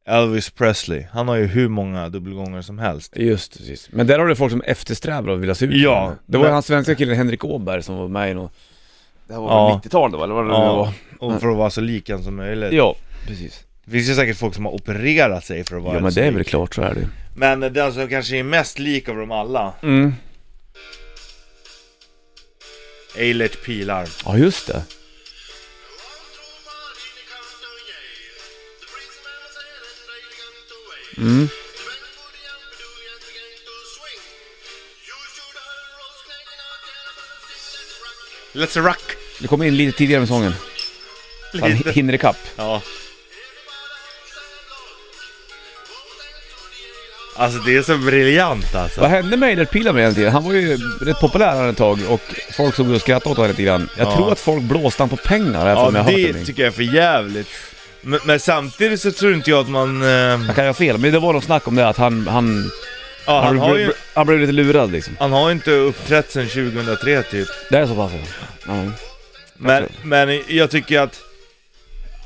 [SPEAKER 2] Elvis Presley, han har ju hur många dubbelgånger som helst
[SPEAKER 1] Just precis. Men där har du folk som eftersträvar att vilja se ut som
[SPEAKER 2] Ja,
[SPEAKER 1] henne. Det var ju
[SPEAKER 2] men-
[SPEAKER 1] han svenska killen Henrik Åberg som var med i något... Det här var
[SPEAKER 2] Ja.
[SPEAKER 1] väl 90-tal då eller vad det nu
[SPEAKER 2] Ja.
[SPEAKER 1] var?
[SPEAKER 2] Och för att vara så lika som möjligt
[SPEAKER 1] Ja, precis.
[SPEAKER 2] Det finns ju säkert folk som har opererat sig för att vara
[SPEAKER 1] Ja men
[SPEAKER 2] så
[SPEAKER 1] det är
[SPEAKER 2] lik.
[SPEAKER 1] väl klart, så är det ju.
[SPEAKER 2] Men den som kanske är mest lik av dem alla
[SPEAKER 1] Mm.
[SPEAKER 2] Eilert Pilar
[SPEAKER 1] Ja just det.
[SPEAKER 5] Mm.
[SPEAKER 2] Let's rock!
[SPEAKER 1] Du kom in lite tidigare med sången. Så han
[SPEAKER 2] Lite.
[SPEAKER 1] hinner ikapp.
[SPEAKER 2] Ja Alltså det är så briljant alltså
[SPEAKER 1] Vad hände med Eilert Pilar med den tiden? Han var ju rätt populär här ett tag och folk såg och skrattade åt honom lite grann. Jag
[SPEAKER 2] Ja.
[SPEAKER 1] tror att folk blåste han på pengar,
[SPEAKER 2] Ja
[SPEAKER 1] ja, jag har hört
[SPEAKER 2] det
[SPEAKER 1] det.
[SPEAKER 2] tycker jag är för jävligt men, men samtidigt så tror inte jag att man... Eh,
[SPEAKER 1] Jag kan ha fel, men det var någon snack om det att han, han,
[SPEAKER 2] ja, han har ju...
[SPEAKER 1] han blev lite lurad liksom.
[SPEAKER 2] Han har ju inte uppträtt sedan 2003 typ.
[SPEAKER 1] Det är så pass ja.
[SPEAKER 2] Men, men jag tycker att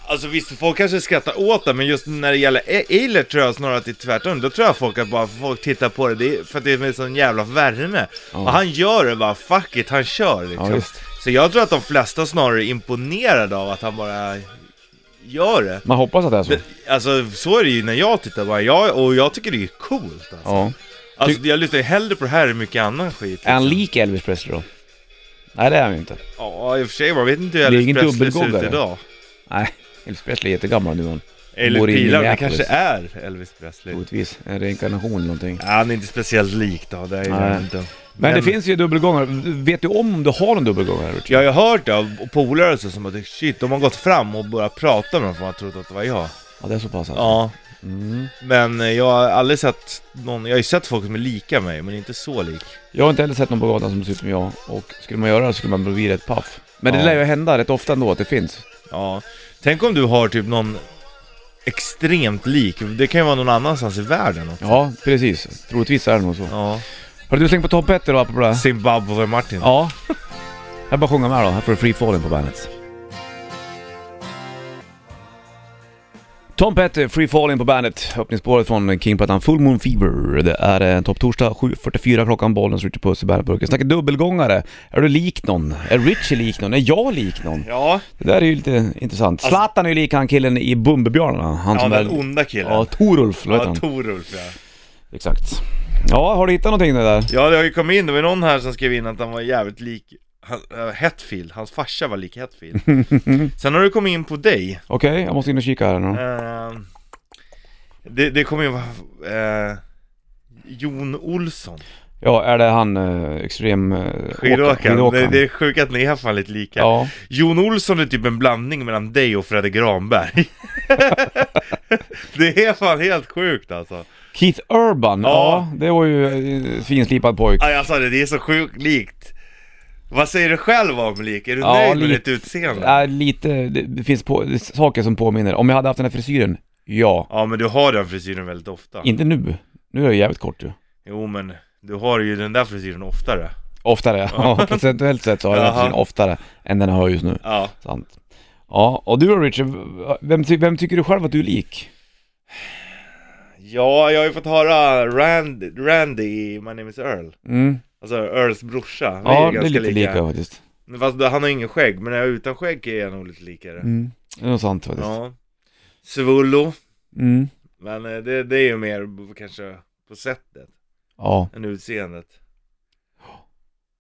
[SPEAKER 2] Alltså visst, folk kanske skrattar åt det, men just när det gäller e- Eilert tror jag snarare att det är tvärtom. Då tror jag folk att bara folk tittar på det, det är för att det är en sån jävla värme. Och han gör det bara, fuck it, han kör liksom.
[SPEAKER 1] Ja, visst.
[SPEAKER 2] så jag tror att de flesta snarare är imponerade av att han bara gör det.
[SPEAKER 1] Man hoppas att det är så.
[SPEAKER 2] Men, Alltså så är det ju när jag tittar bara, jag, och jag tycker det är coolt alltså.
[SPEAKER 1] Ja.
[SPEAKER 2] Alltså jag lyssnar ju hellre på det här än mycket annan skit.
[SPEAKER 1] Är han lik Elvis Presley då? Nej, det är han ju inte.
[SPEAKER 2] Ja, i och för sig, man vet inte hur
[SPEAKER 1] Det är
[SPEAKER 2] Elvis
[SPEAKER 1] ingen
[SPEAKER 2] Presley ser ut
[SPEAKER 1] dubbelgoggare.
[SPEAKER 2] idag.
[SPEAKER 1] Nej, Elvis Presley är jättegammal nu han.
[SPEAKER 2] Eller
[SPEAKER 1] Bor i
[SPEAKER 2] bilar, det
[SPEAKER 1] Minneapolis.
[SPEAKER 2] kanske är Elvis Presley.
[SPEAKER 1] Troligtvis. En reinkarnation eller någonting.
[SPEAKER 2] Ja, han är inte speciellt lik då, det är
[SPEAKER 1] Nej.
[SPEAKER 2] jag inte.
[SPEAKER 1] Men det finns ju dubbelgångare. Vet du om du har en dubbelgångare Richard?
[SPEAKER 2] Jag har ju hört det av polare och så som att shit, de har gått fram och börjat prata med dem för man har trott att det var jag.
[SPEAKER 1] Ja, det är så pass alltså.
[SPEAKER 2] Ja,
[SPEAKER 1] Mm.
[SPEAKER 2] men eh, jag har aldrig sett någon, jag har ju sett folk som är lika mig, men inte så lik.
[SPEAKER 1] Jag har inte heller sett någon på gatan som ser ut som jag. Och skulle man göra det så skulle man bli rätt paff. Men det
[SPEAKER 2] Ja.
[SPEAKER 1] lär ju hända rätt ofta ändå att det finns.
[SPEAKER 2] Ja, tänk om du har typ någon extremt lik, det kan ju vara någon annanstans i världen. också.
[SPEAKER 1] Ja, precis. Troligtvis är det nog så.
[SPEAKER 2] Ja,
[SPEAKER 1] Har du slängt på Tom Petter då apropå det?
[SPEAKER 2] Zimbabwe-Martin.
[SPEAKER 1] Ja. Jag bara sjunga med då. Här får du Free Falling på bandet. Tom Petty, Free Falling på bandet. Öppningsspåret från King-plattan Full Moon Fever. Det är eh, en topptorsdag 7.44 klockan, bollen Ritchie Puss i bandet Snacka dubbelgångare. Är du lik någon? Är Richie lik någon? Är jag lik någon?
[SPEAKER 2] Ja,
[SPEAKER 1] Det där är ju lite intressant. Zlatan är ju lik han killen i Bumbibjörnarna. Han
[SPEAKER 2] Alltså- ja
[SPEAKER 1] som
[SPEAKER 2] den
[SPEAKER 1] är...
[SPEAKER 2] onda killen.
[SPEAKER 1] Ja, Torulf, vad heter
[SPEAKER 2] ja
[SPEAKER 1] han?
[SPEAKER 2] Torulf ja.
[SPEAKER 1] Exakt. Ja, har du hittat någonting där?
[SPEAKER 2] Ja, det har ju kommit in, det var någon här som skrev in att han var jävligt lik han, eh, Hetfield, hans farsa var
[SPEAKER 1] (laughs)
[SPEAKER 2] lik Hetfield. Sen har du kommit in på dig.
[SPEAKER 1] Okej, jag måste in och kika här nu.
[SPEAKER 2] Ehm, det, det kommer ju vara... eh, Jon Olsson,
[SPEAKER 1] Ja, är det han eh, extrem... Eh,
[SPEAKER 2] skidåkaren.
[SPEAKER 1] åkaren?
[SPEAKER 2] Det, det är sjukt att ni är fan lite lika.
[SPEAKER 1] Ja,
[SPEAKER 2] Jon Olsson är typ en blandning mellan dig och Fredrik Granberg. (laughs) det är fan helt sjukt alltså.
[SPEAKER 1] Keith Urban, ja,
[SPEAKER 2] Ja.
[SPEAKER 1] det var ju eh, finslipad pojk.
[SPEAKER 2] Aj, jag sa det, det är så sjukt likt. Vad säger du själv om lik? Är du
[SPEAKER 1] Ja,
[SPEAKER 2] nöjd med
[SPEAKER 1] lite.
[SPEAKER 2] ditt utseende?
[SPEAKER 1] Äh, lite, det, det finns på, det, är saker som påminner. Om jag hade haft den här frisyren, ja.
[SPEAKER 2] Ja men du har den frisyren väldigt ofta
[SPEAKER 1] Inte nu, nu är jag jävligt kort ju.
[SPEAKER 2] Jo men du har ju den där frisyren oftare
[SPEAKER 1] Oftare, ja. procentuellt sett så har jag den här
[SPEAKER 2] Jaha.
[SPEAKER 1] frisyren oftare än den jag har just nu.
[SPEAKER 2] Ja
[SPEAKER 1] Sant. Ja, och du då Richard, vem, ty- vem tycker du själv att du är lik?
[SPEAKER 2] Ja jag har ju fått höra Rand, Randy i My Name Is Earl
[SPEAKER 1] Mm.
[SPEAKER 2] Alltså Earls brorsa, vi
[SPEAKER 1] Ja,
[SPEAKER 2] ju
[SPEAKER 1] det är lite lika, faktiskt.
[SPEAKER 2] Men Fast han har ingen skägg, men när jag är utan skägg är jag nog lite likare
[SPEAKER 1] Mm. Det är nog sant faktiskt.
[SPEAKER 2] Ja Svullo,
[SPEAKER 1] Mm.
[SPEAKER 2] men eh, det, det är ju mer b- kanske på sättet
[SPEAKER 1] Ja,
[SPEAKER 2] än utseendet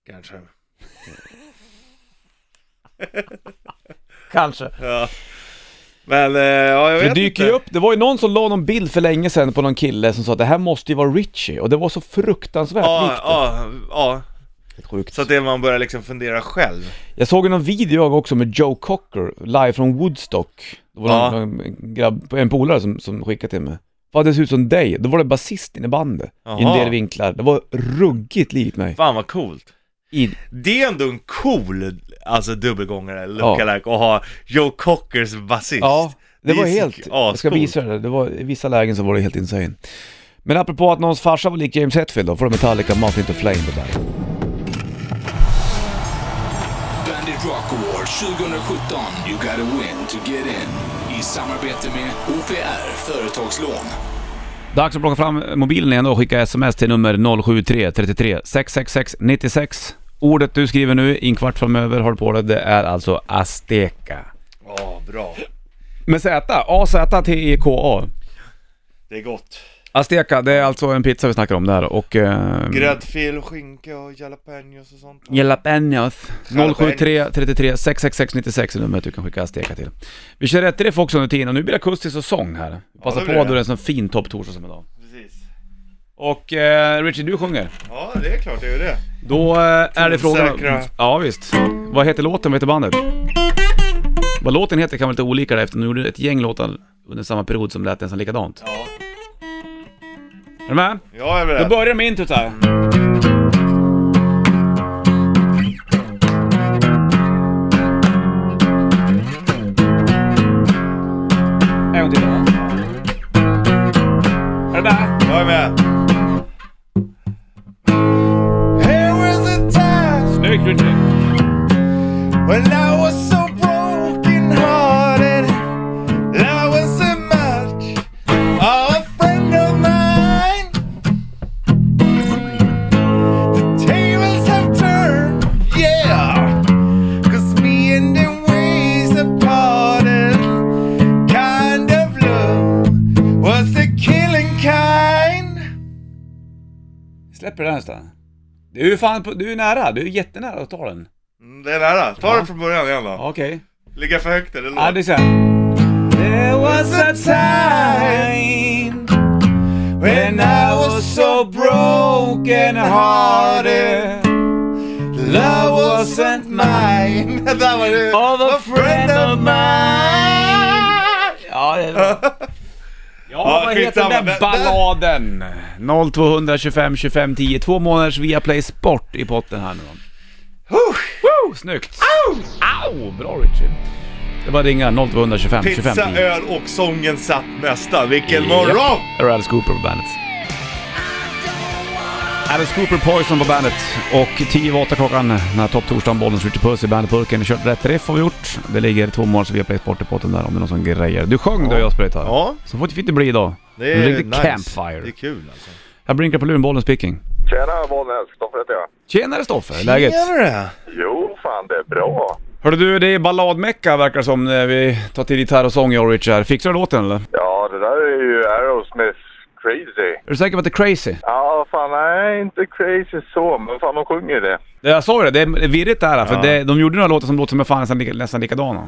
[SPEAKER 2] Kanske
[SPEAKER 1] (laughs) kanske.
[SPEAKER 2] Ja Men eh, ja jag
[SPEAKER 1] För
[SPEAKER 2] vet
[SPEAKER 1] det dyker ju
[SPEAKER 2] inte
[SPEAKER 1] upp, det var ju någon som la någon bild för länge sedan på någon kille som sa att det här måste ju vara Richie och det var så fruktansvärt
[SPEAKER 2] Ja,
[SPEAKER 1] likt.
[SPEAKER 2] ja, ja
[SPEAKER 1] Sjukt.
[SPEAKER 2] Så att det man börjar liksom fundera själv
[SPEAKER 1] Jag såg ju någon video jag också med Joe Cocker, live från Woodstock. Det var
[SPEAKER 2] Ja.
[SPEAKER 1] någon, någon grabb, en polare som, som skickade till mig. Fan det ser ut som dig, då var det basisten i bandet. I en
[SPEAKER 2] Jaha.
[SPEAKER 1] del vinklar. Det var ruggigt likt mig.
[SPEAKER 2] Fan vad coolt
[SPEAKER 1] I,
[SPEAKER 2] Det är ändå en cool, alltså dubbelgångare,
[SPEAKER 1] Ja.
[SPEAKER 2] lookalike, att ha Joe Cockers basist
[SPEAKER 1] ja, det
[SPEAKER 2] är
[SPEAKER 1] var
[SPEAKER 2] så-
[SPEAKER 1] helt...
[SPEAKER 2] ja,
[SPEAKER 1] jag ska
[SPEAKER 2] coolt.
[SPEAKER 1] visa det. det var, I vissa lägen så var det helt insane. Men apropå att någons farsa var lik James Hetfield då, får de Metallica, Muffin to Flame det där.
[SPEAKER 3] Bandit Rock Award 2017. You gotta win to get in. I samarbete med OPR Företagslån.
[SPEAKER 1] Dags att plocka fram mobilen igen då och skicka sms till nummer 073 33 666 96. Ordet du skriver nu, i en kvart framöver, har du på det, det är alltså Azteca.
[SPEAKER 2] Ja, bra.
[SPEAKER 1] Med Z, A-Z-T-E-K-A.
[SPEAKER 2] Det är gott.
[SPEAKER 1] Azteca, det är alltså en pizza vi snackar om där och... Eh,
[SPEAKER 2] Gräddfil, skinka och jalapenos och sånt.
[SPEAKER 1] Jalapenos. 073 33 666 96 är numret du kan skicka Azteca till. Vi kör rätt i det folk under tiden och nu blir det akustisk och sång här. Passa
[SPEAKER 2] det
[SPEAKER 1] på
[SPEAKER 2] blir
[SPEAKER 1] då
[SPEAKER 2] det.
[SPEAKER 1] det är en sån fin topptorsdag som idag.
[SPEAKER 2] Precis.
[SPEAKER 1] Och eh, Richie, du sjunger.
[SPEAKER 2] Ja, det är klart jag gör det.
[SPEAKER 1] Då eh, är det frågan...
[SPEAKER 2] Säkra.
[SPEAKER 1] Ja visst. Vad heter låten, vad heter bandet? Vad låten heter kan vara lite olika där, eftersom de gjorde ett gäng låtar under samma period som lät nästan likadant.
[SPEAKER 2] Ja,
[SPEAKER 1] Är du med?
[SPEAKER 2] jag
[SPEAKER 1] Då
[SPEAKER 2] är beredd.
[SPEAKER 1] börjar med introt här. En gång till. Är du med?
[SPEAKER 2] Jag är med. Here was a time
[SPEAKER 1] Snyggt Richie!
[SPEAKER 2] when I was so broken hearted
[SPEAKER 1] Släpper den nästan. Du är ju fan på, du är nära, du är jättenära att ta den.
[SPEAKER 2] Mm, Det är nära, ta den från början igen då.
[SPEAKER 1] Okej.
[SPEAKER 2] Ligga för högt eller
[SPEAKER 1] Ja,
[SPEAKER 2] lågt?
[SPEAKER 1] det är så här. There was a time when I was so broken hearted Love wasn't mine
[SPEAKER 2] (laughs) Det där var det.
[SPEAKER 1] of a friend of mine Ja, det är bra. Ja,
[SPEAKER 2] Ja,
[SPEAKER 1] vad heter
[SPEAKER 2] skitsamma.
[SPEAKER 1] den
[SPEAKER 2] Den-
[SPEAKER 1] balladen? 0225 25 10. Två månaders Viaplay Sport i potten här nu då. Woo, snyggt! Au! Au! Bra Richie. Det var ringa 0225 25
[SPEAKER 2] Pizza,
[SPEAKER 1] 10.
[SPEAKER 2] öl och sången satt nästa. Vilken morgon!
[SPEAKER 1] Japp, Där är Alice Cooper på bandet. Alice Cooper Poison på bandet och 10 över åtta klockan den här topptorsdagen, Bollnäs Ritchie Puss i bandetburken. Kört rätt riff har vi gjort. Det ligger två mål så vi har play sport i potten där om det är någon som grejer. Du sjöng du och jag spelade gitarr.
[SPEAKER 2] Ja.
[SPEAKER 1] Så får det inte bli idag.
[SPEAKER 2] Det
[SPEAKER 1] en
[SPEAKER 2] är
[SPEAKER 1] riktig
[SPEAKER 2] nice.
[SPEAKER 1] campfire.
[SPEAKER 2] Det är kul alltså.
[SPEAKER 1] Jag blinkar på luren, bollen speaking.
[SPEAKER 5] Tjena, Bollnäs. Stoffe heter jag.
[SPEAKER 1] Tjenare Stoffe, läget?
[SPEAKER 2] Gör det?
[SPEAKER 5] Jo, fan det är bra.
[SPEAKER 1] Hörde du, det är balladmecka verkar det som när vi tar till gitarr och sång jag och Richard. Fixar du låten eller? Är
[SPEAKER 5] Ja, det där är ju Aerosmith crazy.
[SPEAKER 1] du säker på att det är crazy?
[SPEAKER 5] Ja, fan nej, inte crazy så, men fan de sjunger det.
[SPEAKER 1] Det- Jag sa ju det, det är virrigt det här. För
[SPEAKER 2] Ja.
[SPEAKER 1] det, de gjorde några låtar som låter som är fan nästan, lika- nästan likadana.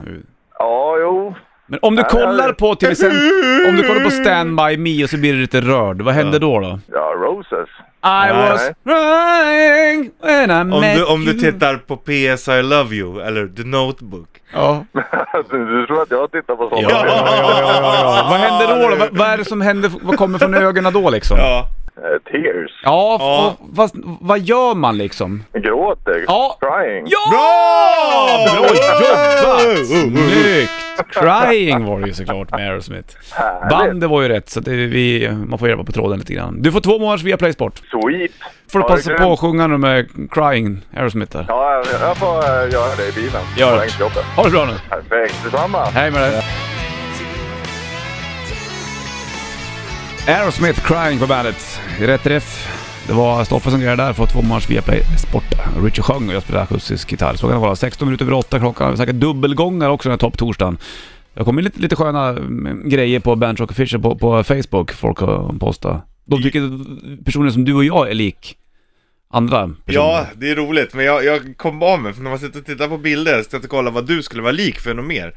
[SPEAKER 5] Ja, jo.
[SPEAKER 1] Men om du
[SPEAKER 5] jag
[SPEAKER 1] kollar
[SPEAKER 5] vet.
[SPEAKER 1] på till exempel, om du kollar på Stand By Me och så blir du lite rörd, vad händer då då?
[SPEAKER 5] Ja, Roses. (laughs)
[SPEAKER 1] I was crying when I
[SPEAKER 2] Om
[SPEAKER 1] met
[SPEAKER 2] du, om du
[SPEAKER 1] you.
[SPEAKER 2] tittar på PS I Love You eller The Notebook.
[SPEAKER 1] Ja.
[SPEAKER 5] du, du tror att jag tittar på sådana?
[SPEAKER 1] Ja, ja, ja, ja,
[SPEAKER 2] (laughs)
[SPEAKER 1] ja. Vad händer då? då? Vad, vad är det som händer, vad kommer från ögonen då liksom?
[SPEAKER 2] Ja.
[SPEAKER 5] Eh, Tears.
[SPEAKER 1] Ja, f-
[SPEAKER 2] Ja.
[SPEAKER 1] och fast vad gör man liksom?
[SPEAKER 5] Gråter.
[SPEAKER 1] Ja.
[SPEAKER 5] Crying.
[SPEAKER 1] Ja!
[SPEAKER 2] Bra!
[SPEAKER 1] Bra jobbat!
[SPEAKER 2] Oh, oh, oh.
[SPEAKER 1] Snyggt! Crying var det ju såklart med Aerosmith.
[SPEAKER 5] Härligt.
[SPEAKER 1] Bandet var ju rätt, så att det, vi, man får hjälpa på tråden lite grann. Du får två månaders via Playsport.
[SPEAKER 5] Sweet.
[SPEAKER 1] Får du
[SPEAKER 5] Ha det
[SPEAKER 1] passa
[SPEAKER 5] grymt.
[SPEAKER 1] på att sjunga de här Crying Aerosmith där.
[SPEAKER 5] Ja, jag- jag får eh, göra det i bilen.
[SPEAKER 1] Gör
[SPEAKER 5] På väg till jobbet.
[SPEAKER 1] det. Ha det bra nu.
[SPEAKER 5] Perfekt. Detsamma.
[SPEAKER 1] Hej med dig. Aerosmith Crying på bandet. Rätt träff. Det var Stoffe som grejade där för två månaders Viaplay Sport. Richard sjöng och jag spelade akustisk gitarr. Så kan det vara. 16 minuter över 8 klockan. Säkert dubbelgångar också den här topptorsdagen. Det har kommit lite, lite sköna mm, grejer på Bernt Rock Fisher på, på Facebook. Folk har postat. De tycker personer som du och jag är lik andra personer.
[SPEAKER 2] Ja, det är roligt, men jag, jag kom av mig, för när man sitter och tittar på bilder, jag sitter och kollar vad du skulle vara lik för något mer.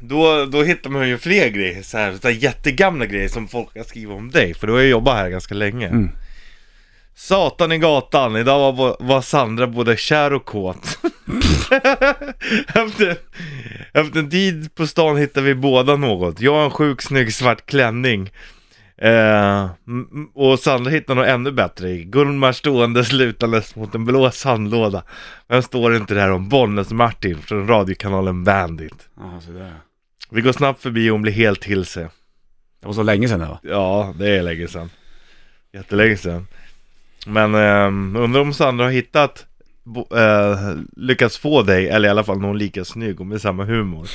[SPEAKER 2] Då, då hittar man ju fler grejer, så här, så här jättegamla grejer som folk har skrivit om dig, för du har ju jobbat här ganska länge. Satan i gatan, idag var, bo- var Sandra både kär och kåt. efter, efter en tid på stan hittade vi båda något. Jag har en sjuk snygg svart klänning. Eh, m- m- och Sandra hittar något ännu bättre i. Gunmar stående slutandes mot en blå sandlåda. Vem står inte där om Bollnäs-Martin från radiokanalen Bandit?
[SPEAKER 1] Ja, så där.
[SPEAKER 2] Vi går snabbt förbi och hon blir helt till sig.
[SPEAKER 1] Det var så länge sedan det va?
[SPEAKER 2] Ja, det är länge sedan. Jättelänge sedan. Men ehm, undrar om Sandra har hittat, bo- eh, lyckats få dig, eller i alla fall någon lika snygg och med samma humor.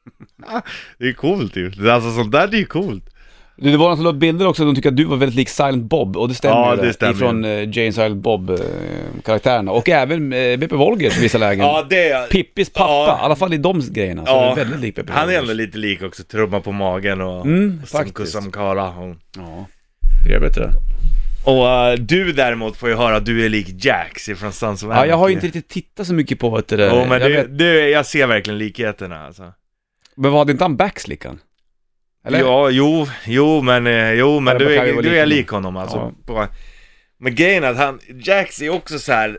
[SPEAKER 2] (laughs) det är coolt ju. Det är Alltså sånt där det är ju coolt.
[SPEAKER 1] Du, Det var någon som la upp bilder också, de tycker att du var väldigt lik Silent Bob och det stämmer
[SPEAKER 2] Ja,
[SPEAKER 1] ju
[SPEAKER 2] det stämmer
[SPEAKER 1] ifrån eh, Jane Silent Bob-karaktärerna. Och även eh, Beppe Wolgers i vissa lägen.
[SPEAKER 2] Ja, det är...
[SPEAKER 1] Pippis pappa,
[SPEAKER 2] Ja.
[SPEAKER 1] i alla fall i de grejerna. Så är väldigt lik Beppe
[SPEAKER 2] Han är ändå
[SPEAKER 1] Wolgers.
[SPEAKER 2] lite lik också, trumma på magen och
[SPEAKER 1] Mm,
[SPEAKER 2] och som
[SPEAKER 1] faktiskt.
[SPEAKER 2] kussam kara. Och,
[SPEAKER 1] Ja. Trevligt det.
[SPEAKER 2] och eh, du däremot får ju höra att du är lik Jax ifrån Sons of
[SPEAKER 1] Ja, jag har ju inte
[SPEAKER 2] Anarchy.
[SPEAKER 1] riktigt tittat så mycket på vet du, det.
[SPEAKER 2] Jo, men
[SPEAKER 1] jag
[SPEAKER 2] du,
[SPEAKER 1] vet,
[SPEAKER 2] du, jag ser verkligen likheterna alltså.
[SPEAKER 1] men vad hade inte han backslickan? Eller?
[SPEAKER 2] Ja, jo, jo men, eh, jo, men
[SPEAKER 1] Eller
[SPEAKER 2] du,
[SPEAKER 1] kan ju
[SPEAKER 2] är,
[SPEAKER 1] vara
[SPEAKER 2] du
[SPEAKER 1] lik
[SPEAKER 2] är
[SPEAKER 1] honom.
[SPEAKER 2] lik honom alltså.
[SPEAKER 1] Ja.
[SPEAKER 2] På, men grejen är att han, Jax är också så här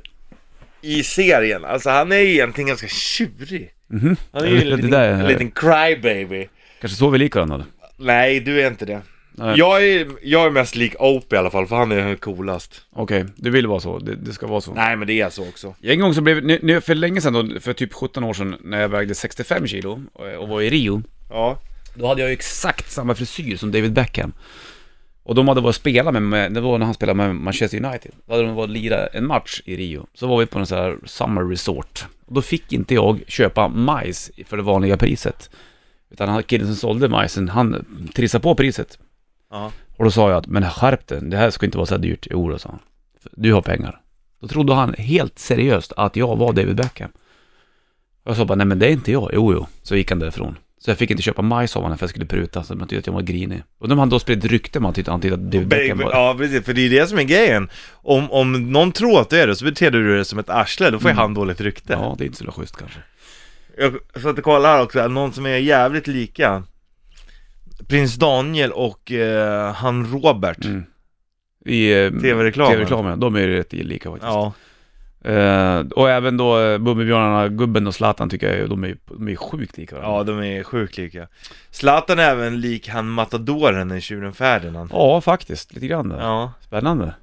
[SPEAKER 2] i serien, alltså han är ju egentligen ganska tjurig. Han är ju
[SPEAKER 1] Mhm. Ja,
[SPEAKER 2] en
[SPEAKER 1] det
[SPEAKER 2] liten,
[SPEAKER 1] där är-
[SPEAKER 2] en liten crybaby.
[SPEAKER 1] Kanske så vi likar honom eller?
[SPEAKER 2] Nej, du är inte det.
[SPEAKER 1] Nej.
[SPEAKER 2] Jag är, jag är mest lik Ope i alla fall, för han är coolast.
[SPEAKER 1] Okej, du vill vara så. Det, det ska vara så.
[SPEAKER 2] Nej, men det är så också.
[SPEAKER 1] En gång så blev, nu- nu, för länge sedan då, för typ 17 år sedan, när jag vägde 65 kilo eh, och och var i Rio.
[SPEAKER 2] Ja.
[SPEAKER 1] Då hade jag ju exakt samma frisyr som David Beckham. Och de hade varit och spelat med- med, det var när han spelade med Manchester United. Då hade de varit och lirat en match i Rio. Så var vi på en sån här summer resort. Och då fick inte jag köpa majs för det vanliga priset. Utan han, killen som sålde majsen, han trissade på priset.
[SPEAKER 2] Ja.
[SPEAKER 1] Och då sa jag att, men skärp dig, det här ska inte vara så här dyrt. Jo då, sa han. "För Du har pengar. Då trodde han helt seriöst att jag var David Beckham. Och jag sa bara, nej men det är inte jag. Jo, jo. Så gick han därifrån. Så jag fick inte köpa majs av honom för jag skulle pruta, så de tyckte att jag var grinig. Och de hade då spridit rykte om att han tyckte- han tyckte att David Beckham
[SPEAKER 2] Baby,
[SPEAKER 1] var...
[SPEAKER 2] ja precis, för det är ju det som är grejen. Om, om någon tror att du är det så beter du dig som ett arsle, då får ju han dåligt rykte.
[SPEAKER 1] Mm. Ja, det är inte så jävla schysst kanske.
[SPEAKER 2] Jag satt och kollade här också, någon som är jävligt lika. Prins Daniel och eh, han Robert.
[SPEAKER 1] Mm. I eh,
[SPEAKER 2] TV-reklamen.
[SPEAKER 1] TV-reklamen, de är ju rätt lika faktiskt.
[SPEAKER 2] Ja.
[SPEAKER 1] Eh, och även då eh, Bumbibjörnarna, Gubben och Zlatan tycker jag ju- de är, de är sjukt lika varandra.
[SPEAKER 2] ja, de är sjukt lika. Zlatan är även lik han matadoren, den tjuren Ferdinand.
[SPEAKER 1] Ja, faktiskt. Lite grann. där.
[SPEAKER 2] Ja,
[SPEAKER 1] Spännande.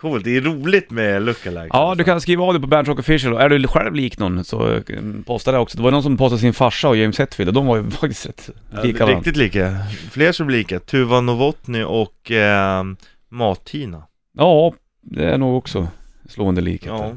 [SPEAKER 2] coolt. Det är roligt med lookalikes.
[SPEAKER 1] Ja, du kan skriva av dig på Band Rock Official. Är du själv lik någon så eh, posta det också. Det var någon som postade sin farsa och James Hetfield och de var ju (laughs) faktiskt rätt
[SPEAKER 2] Ja,
[SPEAKER 1] lika varandra.
[SPEAKER 2] Riktigt lika. Fler som är lika. Tuva Novotny och eh, Mat-Tina.
[SPEAKER 1] Ja, det är nog också slående likhet.
[SPEAKER 2] Ja.
[SPEAKER 1] Ja.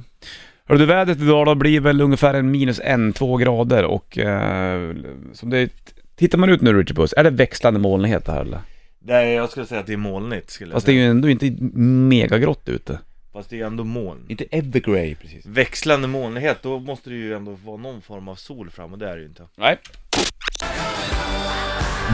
[SPEAKER 1] Hörru du, vädret idag då blir väl ungefär en minus en, två grader och eh, som det Tittar man ut nu Richard Puss, är det växlande molnighet det här eller?
[SPEAKER 2] Nej, jag skulle säga att det är molnigt skulle
[SPEAKER 1] Fast det
[SPEAKER 2] jag
[SPEAKER 1] är
[SPEAKER 2] säga.
[SPEAKER 1] ju ändå inte megagrått ute.
[SPEAKER 2] Fast det är ju ändå moln.
[SPEAKER 1] Inte evergrey precis.
[SPEAKER 2] Växlande molnighet, då måste det ju ändå vara någon form av sol fram och det är det ju inte.
[SPEAKER 1] Nej.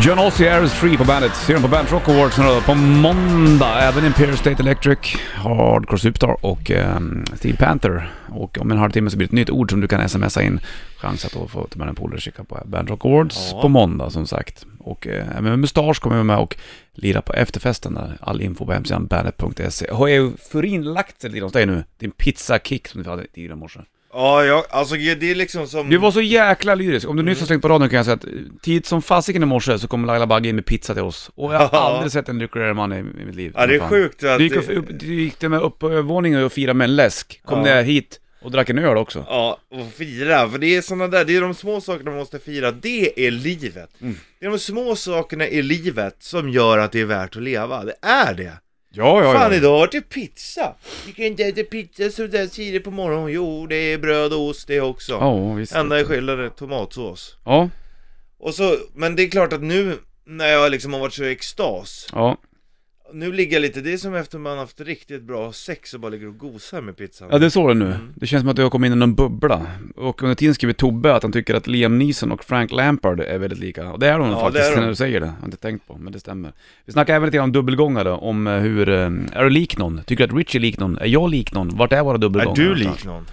[SPEAKER 1] John Osier is free på bandet. Ser dem på Bandet Rock Awards nu då, på måndag. Även Imperial State Electric, Hardcore Superstar och um, Steel Panther. Och om en halvtimme så blir det ett nytt ord som du kan smsa in. Chans att då få ta med en polare och kika på Bandet Rock Awards
[SPEAKER 2] Ja.
[SPEAKER 1] på måndag som sagt. Och eh, även Mustasch kommer med och lira på efterfesten där. All info på hemsidan bandet.se. Har euforin lagt sig lite hos dig nu? Din pizzakick som du hade tidigare i morse.
[SPEAKER 2] Ja, jag, alltså det är liksom som...
[SPEAKER 1] Du var så jäkla lyrisk. Om du
[SPEAKER 2] Mm.
[SPEAKER 1] nyss har slängt på radion kan jag säga att eh, tid som fasiken i morse så kom Laila Bagge in med pizza till oss. Och jag har
[SPEAKER 2] Ja.
[SPEAKER 1] aldrig sett en lyckligare man i, i mitt liv.
[SPEAKER 2] Ja, det är
[SPEAKER 1] Fan.
[SPEAKER 2] sjukt att...
[SPEAKER 1] Du gick,
[SPEAKER 2] det-
[SPEAKER 1] upp, du gick till och med upp på övervåningen och firade med en läsk. Kom
[SPEAKER 2] Ja.
[SPEAKER 1] ner hit och drack en öl också.
[SPEAKER 2] Ja, och fira, för det är såna där, det är de små sakerna man måste fira, det är livet.
[SPEAKER 1] Mm.
[SPEAKER 2] Det är de små sakerna i livet som gör att det är värt att leva, det är det.
[SPEAKER 1] Ja,
[SPEAKER 2] Fan idag vart det pizza! Vi kan inte äta pizza så där tidigt på morgonen, jo det är bröd och ost det också.
[SPEAKER 1] Ja, visst.
[SPEAKER 2] Enda skillnaden är tomatsås.
[SPEAKER 1] Ja,
[SPEAKER 2] Och så, men det är klart att nu när jag liksom har varit så i extas,
[SPEAKER 1] ja.
[SPEAKER 2] nu ligger jag lite, det är som efter man haft riktigt bra sex och bara ligger och gosar med pizzan.
[SPEAKER 1] ja, det såg du nu.
[SPEAKER 2] Mm.
[SPEAKER 1] Det känns som att du har kommit in i någon bubbla. Och under tiden skriver Tobbe att han tycker att Liam Neeson och Frank Lampard är väldigt lika. Och det är de
[SPEAKER 2] Ja,
[SPEAKER 1] faktiskt,
[SPEAKER 2] det är de.
[SPEAKER 1] när du säger det. Jag har inte tänkt på, men det stämmer. Vi snackade även lite grann om dubbelgångare, om eh, hur... eh, Är du lik någon? Tycker du att Richie är lik någon? Är jag lik någon? Vart är våra dubbelgångare?
[SPEAKER 2] är du
[SPEAKER 1] någonstans?
[SPEAKER 2] lik någon?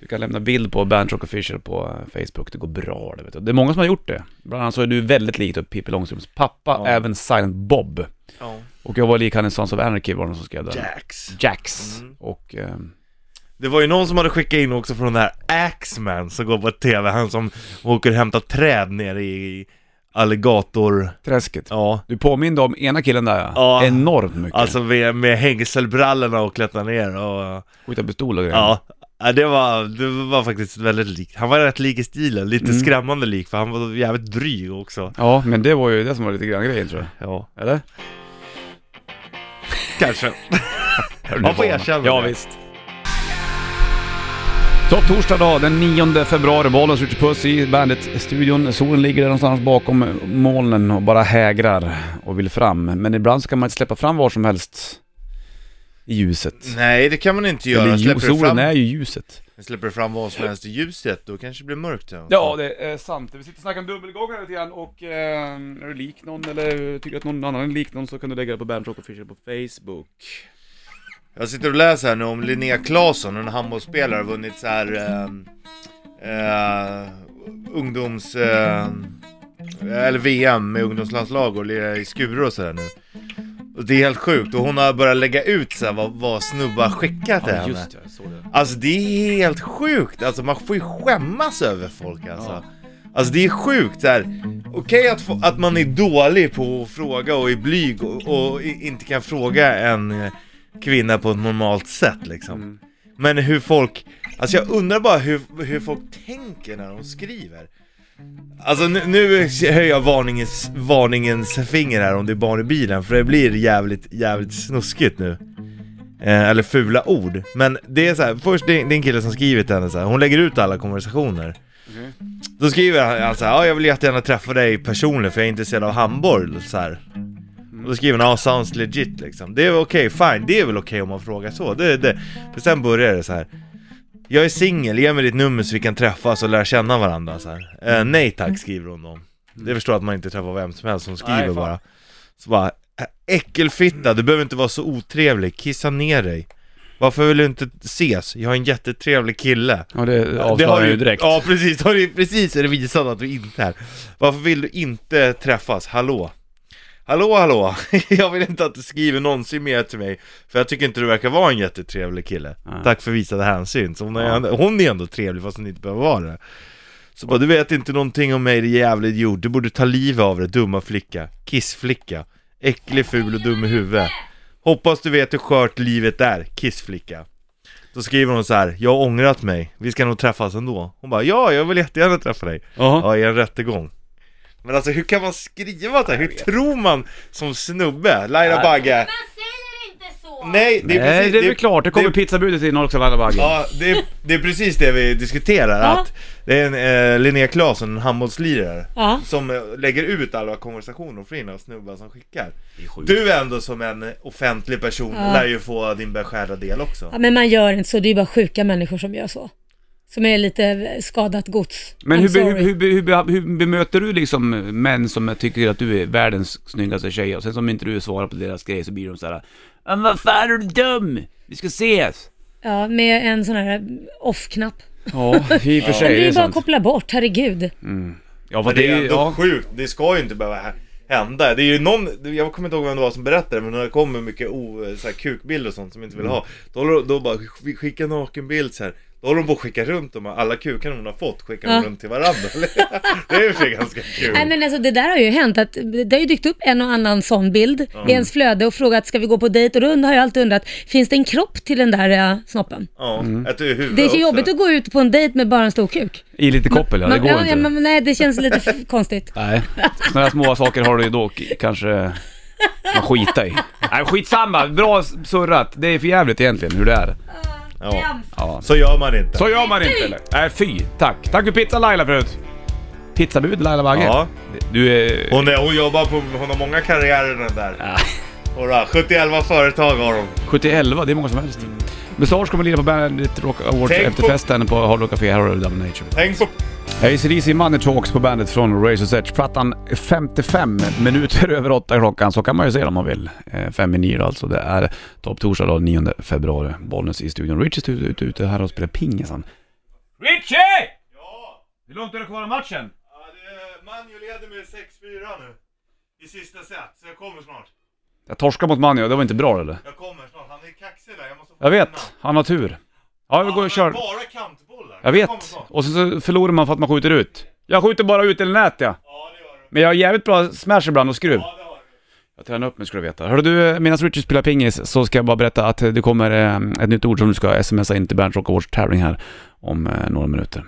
[SPEAKER 1] Du kan lämna bild på Bernt Rock Official på eh, Facebook, det går bra det vet du. Det är många som har gjort det. Bland annat så är du väldigt lik då Pippi Långstrumps pappa,
[SPEAKER 2] Ja.
[SPEAKER 1] även Silent Bob.
[SPEAKER 2] Ja.
[SPEAKER 1] Och jag var lik han i Sons of Anarchy var det någon som skrev där.
[SPEAKER 2] Jax.
[SPEAKER 1] Jax. Och... Eh,
[SPEAKER 2] Det var ju någon som hade skickat in också från den här Axman som går på TV, han som åker och hämtar träd nere i alligator...
[SPEAKER 1] träsket.
[SPEAKER 2] Ja.
[SPEAKER 1] Du påminner om ena killen där ja.
[SPEAKER 2] Ja.
[SPEAKER 1] Enormt mycket.
[SPEAKER 2] Alltså med, med hängselbrallorna och klättrar ner och...
[SPEAKER 1] Skjuta pistol och grejer.
[SPEAKER 2] Ja. Ja, det var, det var faktiskt väldigt likt. Han var rätt lik i stilen, lite
[SPEAKER 1] Mm.
[SPEAKER 2] skrämmande lik för han var jävligt dryg också.
[SPEAKER 1] Ja, men det var ju det som var lite grann grejen tror
[SPEAKER 2] Ja,
[SPEAKER 1] jag. Eller? (laughs)
[SPEAKER 2] kanske.
[SPEAKER 1] Man
[SPEAKER 2] får erkänna
[SPEAKER 1] Ja,
[SPEAKER 2] det.
[SPEAKER 1] visst. Topp torsdag dag, den 9 februari, Bollens Ritchie Puss i Bandet-studion. Solen ligger där någonstans bakom molnen och bara hägrar och vill fram. Men ibland ska man inte släppa fram var som helst i ljuset.
[SPEAKER 2] Nej, det kan man inte
[SPEAKER 1] Eller
[SPEAKER 2] göra.
[SPEAKER 1] ljus,
[SPEAKER 2] Släpper du,
[SPEAKER 1] solen
[SPEAKER 2] fram,
[SPEAKER 1] är ju ljuset.
[SPEAKER 2] släpper du fram vad som helst i ljuset, då kanske det blir mörkt. Här.
[SPEAKER 1] Ja, det är sant. Vi sitter och snackar om dubbelgångare lite grann och eh, är du lik någon eller tycker att någon annan är lik någon så kan du lägga det på Bandit Rock Official på Facebook.
[SPEAKER 2] Jag sitter och läser här nu om Linnea Claesson, en handbollsspelare, har vunnit så här ehm, eh, eh, ungdoms... Eh, eller VM med ungdomslandslag och lirar i skurar och sådär nu. Och det är helt sjukt och hon har börjat lägga ut så här vad, vad snubbar skickat till henne.
[SPEAKER 1] det, jag såg det.
[SPEAKER 2] Alltså det är helt sjukt, alltså man får ju skämmas över folk alltså. Alltså det är sjukt så här. okej att, få- att man är dålig på att fråga och är blyg och, och i- inte kan fråga en eh, kvinna på ett normalt sätt liksom. Men hur folk, alltså jag undrar bara hur, hur folk tänker när de skriver. Alltså nu, nu höjer jag varningens, varningens finger här om det är barn i bilen, för det blir jävligt, jävligt snuskigt nu. Eh, eller fula ord. Men det är så här, först det är, det är en kille som skriver till henne så här, hon lägger ut alla konversationer. Då skriver han alltså, ja jag vill jättegärna träffa dig personligen för jag är intresserad av handboll så här. Och då skriver han, ja sounds legit liksom. Det är väl okej, fine, det är väl okej om man frågar så. Det, det. Men sen börjar det så här. Jag är singel, ge mig ditt nummer så vi kan träffas och lära känna varandra så här. Eh, Nej tack skriver hon då Det förstår att man inte träffar vem som helst som skriver
[SPEAKER 1] Nej, fan.
[SPEAKER 2] bara Så bara, "Ä- äckelfitta, du behöver inte vara så otrevlig, kissa ner dig Varför vill du inte ses? Jag är en jättetrevlig kille
[SPEAKER 1] Ja, det
[SPEAKER 2] det
[SPEAKER 1] avslöjar
[SPEAKER 2] har
[SPEAKER 1] ju
[SPEAKER 2] du-
[SPEAKER 1] direkt.
[SPEAKER 2] Ja precis, har du precis visat att du inte är Varför vill du inte träffas? Hallå? Hallå hallå! (laughs) Jag vill inte att du skriver någonsin mer till mig För jag tycker inte du verkar vara en jättetrevlig kille
[SPEAKER 1] Nej.
[SPEAKER 2] Tack för visade hänsyn Så hon, är, hon är ändå trevlig fast hon inte behöver vara det Så bara, du vet inte någonting om mig din jävla idiot Du borde ta livet av dig dumma flicka Kissflicka Äcklig, ful och dum i huvudet Hoppas du vet hur skört livet är, kissflicka då skriver hon så här, jag har ångrat mig, vi ska nog träffas ändå Hon bara, ja jag vill jättegärna träffa dig
[SPEAKER 1] Jaha.
[SPEAKER 2] Ja, i en rättegång Men alltså hur kan man skriva så här? Hur tror man som snubbe? Laila Bagge
[SPEAKER 6] Man säger inte så!
[SPEAKER 2] Nej, det är
[SPEAKER 1] Nej,
[SPEAKER 2] precis,
[SPEAKER 1] det är väl klart. Det kommer
[SPEAKER 2] det,
[SPEAKER 1] pizzabudet in också, Laila Bagge.
[SPEAKER 2] Ja, det är, det är precis det vi diskuterar
[SPEAKER 6] Ja.
[SPEAKER 2] att Det är en eh, Linnea Claesson, en handbollslirare
[SPEAKER 6] Ja.
[SPEAKER 2] Som eh, lägger ut alla konversationer och får in alla snubbar som skickar Du ändå som en offentlig person lär ju få din beskärda del också
[SPEAKER 6] Ja, men man gör inte så, det är ju bara sjuka människor som gör så. Som är lite eh, skadat gods.
[SPEAKER 1] Men
[SPEAKER 6] I'm
[SPEAKER 1] hur, be- hur,
[SPEAKER 6] sorry.
[SPEAKER 1] hur, be- hur, be- hur bemöter du liksom män som tycker att du är världens snyggaste tjej och sen som inte du svarar på deras grej så blir de såhär Men vad fan är du dum? Vi ska ses!
[SPEAKER 6] Ja, med en sån här eh, off-knapp.
[SPEAKER 1] Ja, i och för
[SPEAKER 6] Men det är
[SPEAKER 1] sig.
[SPEAKER 6] ju bara att koppla bort, herregud.
[SPEAKER 1] Ja,
[SPEAKER 2] Men
[SPEAKER 1] för
[SPEAKER 2] det är
[SPEAKER 1] det,
[SPEAKER 2] ändå
[SPEAKER 1] ja.
[SPEAKER 2] sjukt, det ska ju inte behöva hä- hända. Det är ju någon, jag kommer inte ihåg vem det var som berättade men när det kommer mycket o, så här, kukbilder och sånt som inte vill ha Då, håller, då bara sk- skicka nakenbild så här. Då håller de på att skicka runt dem, alla kukarna hon har fått skickar de
[SPEAKER 6] Ja.
[SPEAKER 2] runt till varandra (laughs) Det är ju för sig ganska kul
[SPEAKER 6] Nej men alltså det där har ju hänt att det har ju dykt upp en och annan sån bild i ens flöde och frågat ska vi gå på dejt och då undrar- har jag alltid undrat finns det en kropp till den där eh, snoppen?
[SPEAKER 2] Ja, att du är huvud
[SPEAKER 6] Det är så
[SPEAKER 2] också.
[SPEAKER 6] jobbigt att gå ut på en dejt med bara en stor kuk.
[SPEAKER 1] I lite koppel ja, det
[SPEAKER 6] Man-
[SPEAKER 1] går
[SPEAKER 6] ja,
[SPEAKER 1] inte.
[SPEAKER 6] men, nej det känns lite
[SPEAKER 1] (laughs)
[SPEAKER 6] f- konstigt.
[SPEAKER 1] Nej, sådana här små saker har du ju då k- kanske man skita i. Nej, skitsamma. Bra surrat. Det är för jävligt egentligen hur det är.
[SPEAKER 2] ja.
[SPEAKER 1] Ja.
[SPEAKER 2] Så gör man inte
[SPEAKER 1] Så gör man inte eller? Nej, fy. Tack. Tack för pizza Laila förut. Pizzabud Laila Bagge.
[SPEAKER 2] Ja.
[SPEAKER 1] Du är...
[SPEAKER 2] Hon, är, hon jobbar på, hon har många karriärer den där
[SPEAKER 1] Ja.
[SPEAKER 2] Hurra, 71 företag har hon
[SPEAKER 1] 71, det är många som helst. Mustasch kommer lira på Bandit Rock Awards
[SPEAKER 2] Tänk
[SPEAKER 1] efter
[SPEAKER 2] på-
[SPEAKER 1] festen på Hard Rock Café. Här har du Dumb Nature.
[SPEAKER 2] Tänk på...
[SPEAKER 1] ACDC Money Talks på bandet från Razor's Edge. Plattan 55 minuter (laughs) över åtta klockan, så kan man ju se det om man vill. Eh, Fem i nio alltså. Det är topp torsdag då, 9 februari. Bollnäs i studion. Richie är ute, ute, ute här och spelar pingisen. Richie! Hur långt är det kvar av matchen?
[SPEAKER 2] Manjo leder med 6-4 nu I sista set, så jag kommer snart
[SPEAKER 1] Jag torskade mot Manjo, det var inte bra eller?
[SPEAKER 2] Jag kommer snart, han är kaxig där, jag måste få
[SPEAKER 1] Jag
[SPEAKER 2] vinna.
[SPEAKER 1] vet, han har tur. Ja, vi går och kör.
[SPEAKER 2] Bara kantbollar.
[SPEAKER 1] Jag
[SPEAKER 2] kommer
[SPEAKER 1] vet.
[SPEAKER 2] snart.
[SPEAKER 1] Och sen så förlorar man för att man skjuter ut. Jag skjuter bara ut i nät ja.
[SPEAKER 2] Ja, det gör du.
[SPEAKER 1] Men jag har jävligt bra smash ibland och skruv.
[SPEAKER 2] Ja, det har du.
[SPEAKER 1] Jag tränar upp mig skulle du veta. Hör du, medan Richard spelar pingis så ska jag bara berätta att det kommer eh, ett nytt ord som du ska smsa in till Bernt Rock Awards tävling här om eh, några minuter.